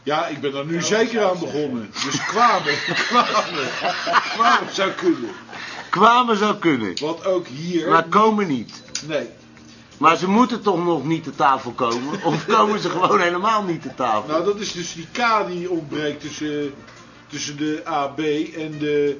S15: Ja, ik ben er nu zeker aan begonnen. Dus kwamen, kwamen, kwamen zou kunnen.
S14: Kwamen zou kunnen.
S15: Wat ook hier.
S14: Maar komen niet.
S15: Nee.
S14: Maar ze moeten toch nog niet te tafel komen? Of komen ze gewoon helemaal niet te tafel?
S15: Nou, dat is dus die K die ontbreekt tussen, tussen de AB en de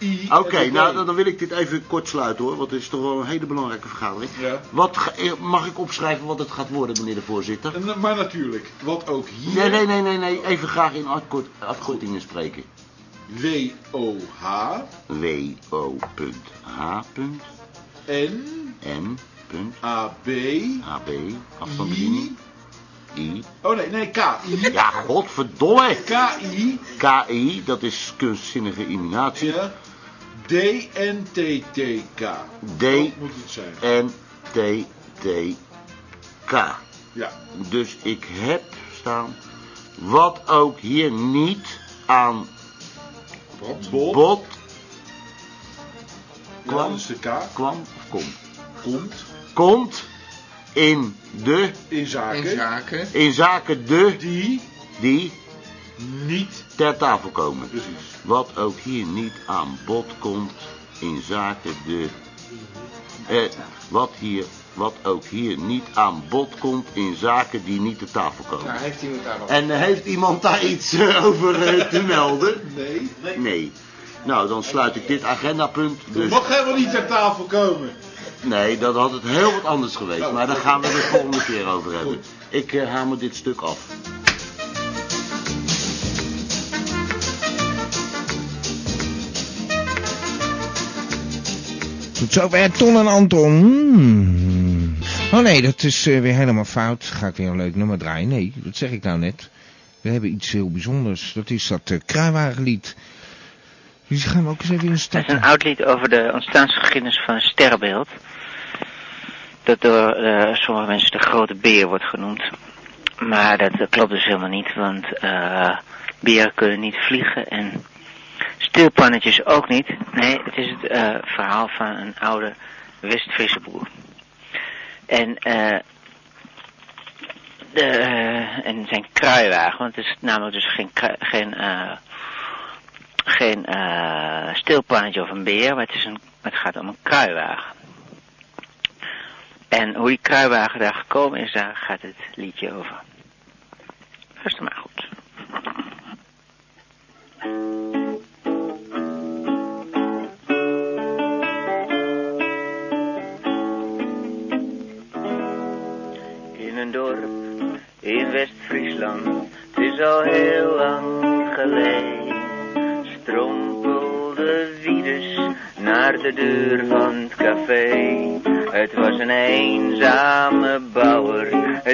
S15: I.
S14: Oké,
S15: en de B.
S14: nou dan dan wil ik dit even kort sluiten hoor, want het is toch wel een hele belangrijke vergadering.
S15: Ja.
S14: Wat ga- eh, mag ik opschrijven wat het gaat worden, meneer de voorzitter?
S15: En- Eh, maar natuurlijk, wat ook hier.
S14: Nee, nee, nee, nee, nee. even graag in afkort, afkortingen spreken.
S15: W-O-H
S14: W-O. H.
S15: en
S14: M. Punt.
S15: AB.
S14: AB. Afstandsbediening. I.
S15: Oh nee, nee, K. I.
S14: Ja, godverdomme.
S15: K-I.
S14: KI, dat is kunstzinnige imitatie.
S15: Ja. D-N-T-T-K.
S14: D.
S15: Dat Oh, moet het zijn.
S14: N. T. T. K.
S15: Ja.
S14: Dus ik heb staan. Wat ook hier niet aan
S15: Bot.
S14: bod
S15: Ja, dat is de K.
S14: kwam of komt.
S15: Komt.
S14: Komt in de.
S15: In zaken. In zaken.
S14: In zaken de.
S15: Die.
S14: Die.
S15: Niet.
S14: Ter tafel komen.
S15: Precies.
S14: Wat ook hier niet aan bod komt in zaken de. Eh, wat, hier, wat ook hier niet aan bod komt in zaken die niet ter tafel komen.
S17: Nou, heeft iemand daar nog...
S14: En eh, heeft iemand daar iets eh, over eh, te melden?
S15: Nee.
S14: Nee. Nou, dan sluit ik dit agendapunt.
S15: Dat
S14: Dus
S15: mag helemaal niet ter tafel komen. Nou,
S14: nee, dat had het heel wat anders geweest. Maar daar gaan we het volgende keer over hebben. Ik eh, hamer dit stuk af.
S2: Tot zover Ton en Anton. Hmm. Oh nee, dat is eh, weer helemaal fout. Ga ik weer een leuk nummer draaien? Nee, dat zeg ik nou net. We hebben iets heel bijzonders. Dat is dat eh kruiwagenlied. Dus die gaan we ook eens even
S18: Dat is
S2: instarten.
S18: een oud lied over de ontstaansgeschiedenis van een sterrenbeeld. Dat door eh, sommige mensen de grote beer wordt genoemd. Maar dat eh, klopt dus helemaal niet, want eh beren kunnen niet vliegen en stilpannetjes ook niet. Nee, het is het eh, verhaal van een oude West-Friese boer. En, eh, de, eh, en zijn kruiwagen, want het is namelijk dus geen, krui- geen, eh, geen eh, stilpannetje of een beer, maar het, is een, het gaat om een kruiwagen. En hoe die kruiwagen daar gekomen is, daar gaat het liedje over. Luister maar goed.
S17: in een dorp in West-Friesland. Het is al heel lang geleden. Strompelde Wiedus naar de deur van het café. Het was een eenzame bouwer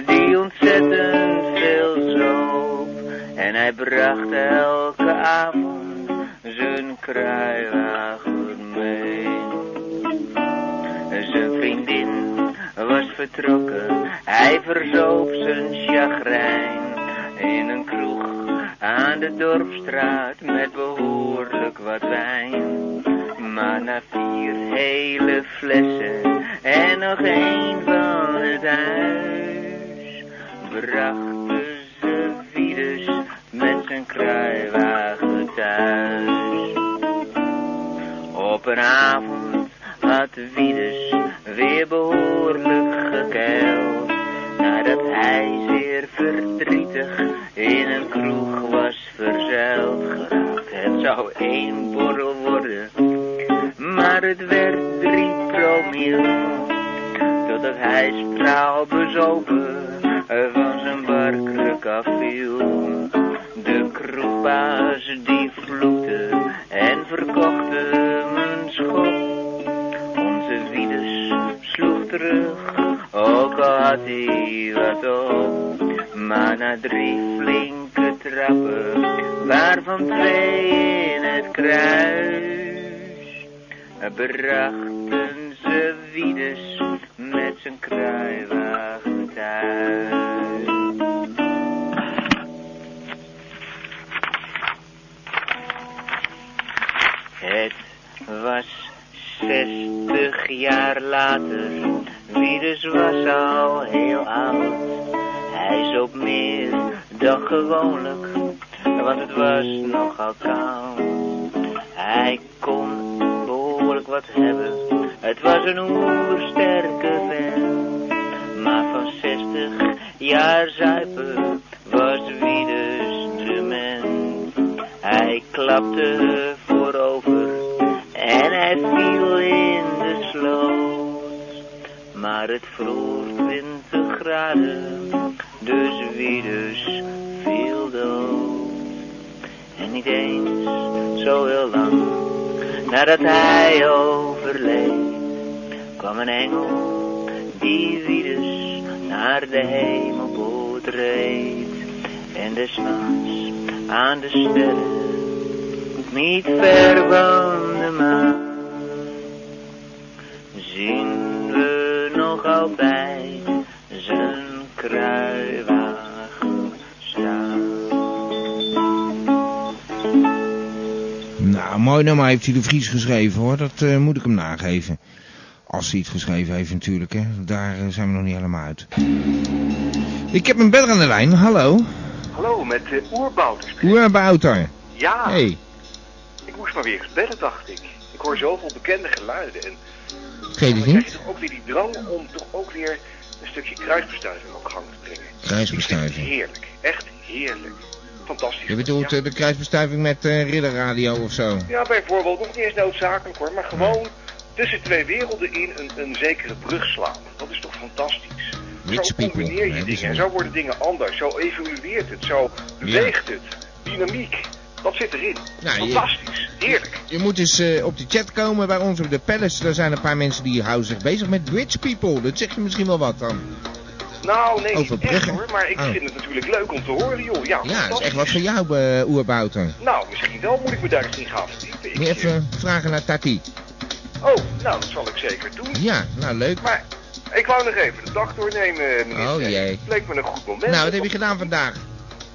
S17: die ontzettend veel zoop. En hij bracht elke avond zijn kruiwagen mee. Zijn vriendin was vertrokken. Hij verzoop zijn chagrijn in een kroeg aan de dorpstraat met behoorlijk wat wijn. Maar na vier hele flessen en nog één van het huis, brachten ze Wiedus met zijn kruiwagen thuis. Op een avond had Wiedus weer behoorlijk gekeild. Nadat hij zeer verdrietig in een kroeg was verzeild geraakt. Het zou één borrel worden, maar het werd drie promil. Totdat hij straal bezopen eh, van zijn barkruk afviel. De kroegbaas die vloekte en verkocht hem een schop. Onze Wiedus sloeg terug, ook al had hij wat op. Maar na drie flinke trappen, waarvan twee in het kruis, brachten ze Wiedus met zijn kruiwagen thuis. Het was zestig jaar later, Wiedus was al heel oud. Hij zoop meer dan gewoonlijk, want het was nogal koud. Hij kon behoorlijk wat hebben, het was een oersterke vent. Maar van zestig jaar zuipen was Wiedus dement. Hij klapte voorover en hij viel in de sloot. Maar het vroeg 20 graden, dus wie dus viel dood. En niet eens zo heel lang nadat hij overleed, kwam een engel die wie dus naar de hemelpoort reed. En des nachts aan de sterren, niet ver van de maan, zien we nog altijd zijn kruiwagen staan.
S2: Nou, mooi nummer heeft hij de Vries geschreven hoor. Dat eh, moet ik hem nageven. Als hij het geschreven heeft natuurlijk. Hè. Daar eh, zijn we nog niet helemaal uit. Ik heb een beller aan de lijn. Hallo.
S19: Hallo, met uh, Oerbouters.
S2: Oerbouter.
S19: Ja,
S2: Hey.
S19: ik moest maar weer eens bellen, dacht ik. Ik hoor zoveel bekende geluiden. En
S2: Geef het
S19: dan krijg je
S2: niet.
S19: toch ook weer die drang om toch ook weer een stukje kruisbestuiving op gang te brengen.
S2: Kruisbestuiving.
S19: Heerlijk, echt heerlijk. Fantastisch.
S2: Je bedoelt eh, de kruisbestuiving met eh ridderradio of zo.
S19: Ja, bijvoorbeeld, nog niet eens noodzakelijk hoor, maar gewoon tussen twee werelden in een, een zekere brug slaan. Dat is toch fantastisch?
S2: Rich
S19: zo
S2: people.
S19: combineer je
S2: Nee, dat is
S19: dingen en
S2: niet.
S19: zo worden dingen anders. Zo evolueert het, zo beweegt het. Dynamiek, dat zit erin.
S2: Nou, je-
S19: Fantastisch, heerlijk.
S2: Je moet eens eh, op de chat komen bij ons op de Palace. Daar zijn een paar mensen die houden zich bezig met rich people. Dat zegt je misschien wel wat dan.
S19: Nou, nee, niet echt
S2: Overbruggen.
S19: hoor, maar ik
S2: Oh.
S19: vind het natuurlijk leuk om te horen, joh. Ja,
S2: Ja, dat is
S19: fantastisch.
S2: echt wat voor jou, eh Oerbouter.
S19: Nou, misschien wel moet ik me daar eens in gaan verdiepen. Ik- eh,
S2: Moet je even vragen naar Tati.
S19: Oh, nou, dat zal ik zeker doen.
S2: Ja, nou leuk.
S19: Maar ik wou nog even de dag doornemen, meneer.
S2: Oh,
S19: Stijn.
S2: jee.
S19: Het leek me een goed moment.
S2: Nou, wat heb je gedaan vandaag?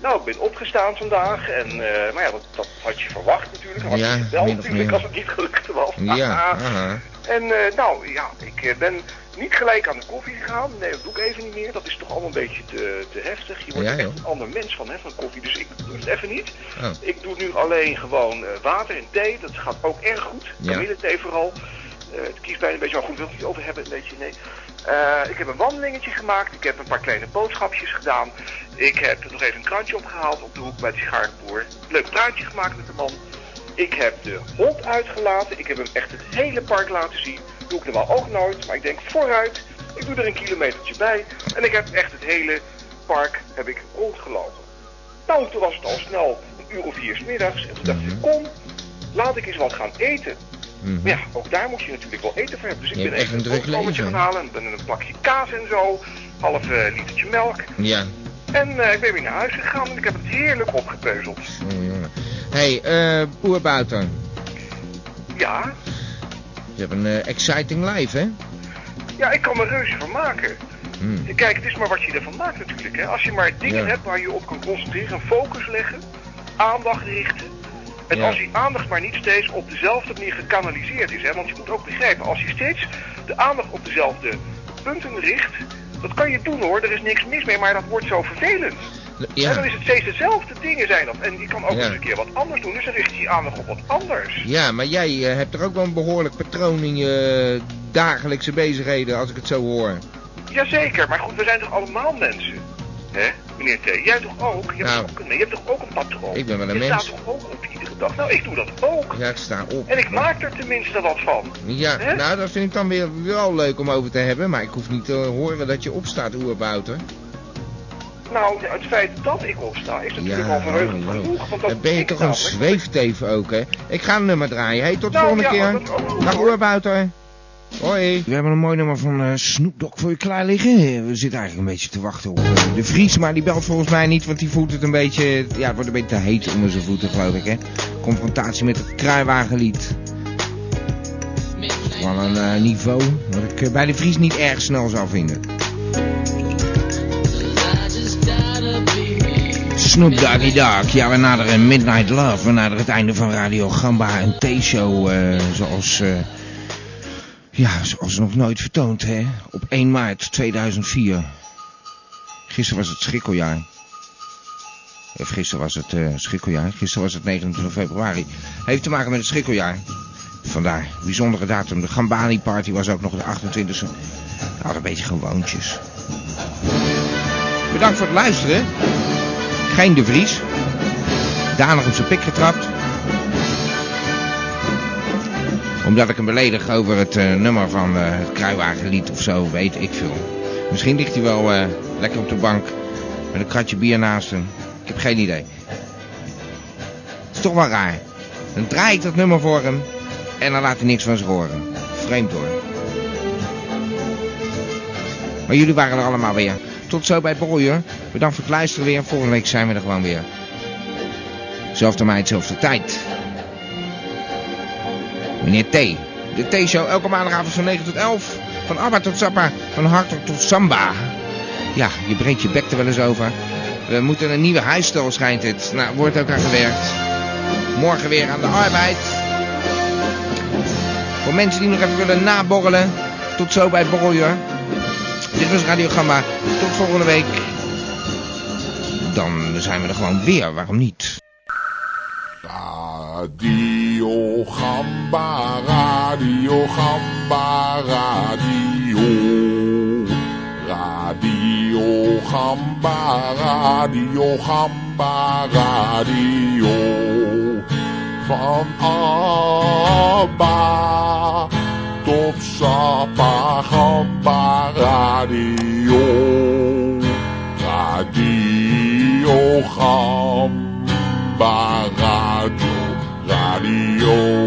S19: Nou, ik ben opgestaan vandaag en, eh, maar ja, dat, dat had je verwacht natuurlijk. Dat had
S2: Ja,
S19: je wel
S2: min of
S19: natuurlijk
S2: meer.
S19: als het niet gelukt was.
S2: Ja, aha.
S19: En eh, nou ja, ik eh, ben niet gelijk aan de koffie gegaan. Nee, dat doe ik even niet meer. Dat is toch allemaal een beetje te, te heftig. Je wordt
S2: Ja,
S19: er
S2: joh.
S19: echt een ander mens van, hè, van koffie. Dus ik doe het even niet.
S2: Oh.
S19: Ik doe nu alleen gewoon eh, water en thee. Dat gaat ook erg goed.
S2: Ja.
S19: Kamille thee vooral. Eh, het kiest bij een beetje, maar goed, ik wil het niet over hebben, een beetje, nee. Eh, ik heb een wandelingetje gemaakt. Ik heb een paar kleine boodschapjes gedaan. Ik heb nog even een krantje opgehaald op de hoek bij de sigarenboer. Leuk praatje gemaakt met de man. Ik heb de hond uitgelaten. Ik heb hem echt het hele park laten zien. Doe ik normaal ook nooit, maar ik denk vooruit. Ik doe er een kilometertje bij. En ik heb echt het hele park heb ik rondgelopen. Nou, toen was het al snel een uur of vier 's middags. En toen dacht
S2: Mhm.
S19: ik, kom, laat ik eens wat gaan eten. Maar ja, ook daar moet je natuurlijk wel eten voor hebben. Dus ik
S2: Je
S19: ben
S2: hebt echt
S19: even
S2: Mhm. een druk
S19: boterhammetje
S2: leven.
S19: gaan halen. En ben een plakje kaas en zo. Half eh, litertje melk.
S2: Ja.
S19: En eh, ik ben weer naar huis gegaan en ik heb het heerlijk opgepeuzeld.
S2: Oh, jongen. Hé, hey, eh Boer Bouter.
S19: Ja,
S2: Je hebt een eh, exciting life, hè?
S19: ja, ik kan me reuze van maken.
S2: Hm.
S19: Kijk, het is maar wat je ervan maakt natuurlijk. Hè. Als je maar dingen
S2: Ja.
S19: hebt waar je op kan concentreren, focus leggen, aandacht richten. En
S2: Ja.
S19: als die aandacht maar niet steeds op dezelfde manier gekanaliseerd is. Hè, want je moet ook begrijpen, als je steeds de aandacht op dezelfde punten richt, dat kan je doen hoor, er is niks mis mee, maar dat wordt zo vervelend.
S2: Ja.
S19: En dan is het steeds dezelfde dingen zijn dat. En je kan ook
S2: Ja.
S19: eens een keer wat anders doen, dus dan richt je je aandacht op wat anders.
S2: Ja, maar jij eh, hebt er ook wel een behoorlijk patroon in je eh, dagelijkse bezigheden, als ik het zo hoor.
S19: Jazeker, maar goed, we zijn toch allemaal mensen? Hè, meneer T? Jij toch ook? Je hebt,
S2: Nou.
S19: toch ook, een- je hebt toch ook een patroon?
S2: Ik ben wel een
S19: je
S2: mens.
S19: Je staat toch ook op iedere dag? Nou, ik doe dat ook.
S2: Ja, ik sta op.
S19: En ik maak er tenminste wat van.
S2: Ja, nou, dat vind ik dan weer wel leuk om over te hebben, maar ik hoef niet te horen dat je opstaat, oerbouter.
S19: Nou, het feit dat ik opsta is natuurlijk al
S2: Ja,
S19: verheugend
S2: hallo.
S19: genoeg. Want dat
S2: dan ben je
S19: ik
S2: toch een
S19: namelijk-
S2: zweefteef ook, hè? Ik ga een nummer draaien. Hey, tot de
S19: Nou,
S2: volgende
S19: ja,
S2: keer.
S19: dat oh. is ook goed,
S2: Dag
S19: hoor.
S2: Oerbouter. Hoi. We hebben een mooi nummer van eh Snoop Dogg voor je klaar liggen. We zitten eigenlijk een beetje te wachten op eh, de Vries, maar die belt volgens mij niet, want die voelt het een beetje... Ja, het wordt een beetje te heet onder zijn voeten, geloof ik, hè? Confrontatie met het kruiwagenlied. Van een eh, niveau dat ik eh, bij de Vries niet erg snel zou vinden. Snoop Doggy Dogg. Ja, we naderen Midnight Love. We naderen het einde van Radio Gamba. Een T-show eh, zoals... eh, ja, zoals nog nooit vertoond, hè. Op 1 maart 2004. Gisteren was het schrikkeljaar. Of gisteren was het eh schrikkeljaar. Gisteren was het 29 februari. Heeft te maken met het schrikkeljaar. Vandaar, bijzondere datum. De Gambani Party was ook nog de 28e. Nou, een beetje gewoontjes. Bedankt voor het luisteren. Geen de Vries. Danig op zijn pik getrapt. Omdat ik hem beledig over het eh, nummer van eh, het kruiwagenlied of zo, weet ik veel. Misschien ligt hij wel eh, lekker op de bank met een kratje bier naast hem. Ik heb geen idee. Het is toch wel raar. Dan draai ik dat nummer voor hem en dan laat hij niks van zich horen. Vreemd hoor. Maar jullie waren er allemaal weer. Tot zo bij Borger. Bedankt voor het luisteren weer. Volgende week zijn we er gewoon weer. Zelfde meid, zelfde tijd. Meneer T. De T-show elke maandagavond van 9 tot 11. Van Abba tot Zappa. Van Hartog tot Samba. Ja, je breekt je bek er wel eens over. We moeten een nieuwe huisstijl schijnt het. Nou, wordt ook aan gewerkt. Morgen weer aan de arbeid. Voor mensen die nog even willen naborrelen. Tot zo bij Borger. Dit was Radio Gamma. Tot volgende week. Dan zijn we er gewoon weer, waarom niet?
S20: Radio Gamba, Radio Gamba, Radio. Radio Gamba, Radio Gamba, Radio. Van Abba tot Zappa, Gamba, Radio. Radio Gamba. Barado Radio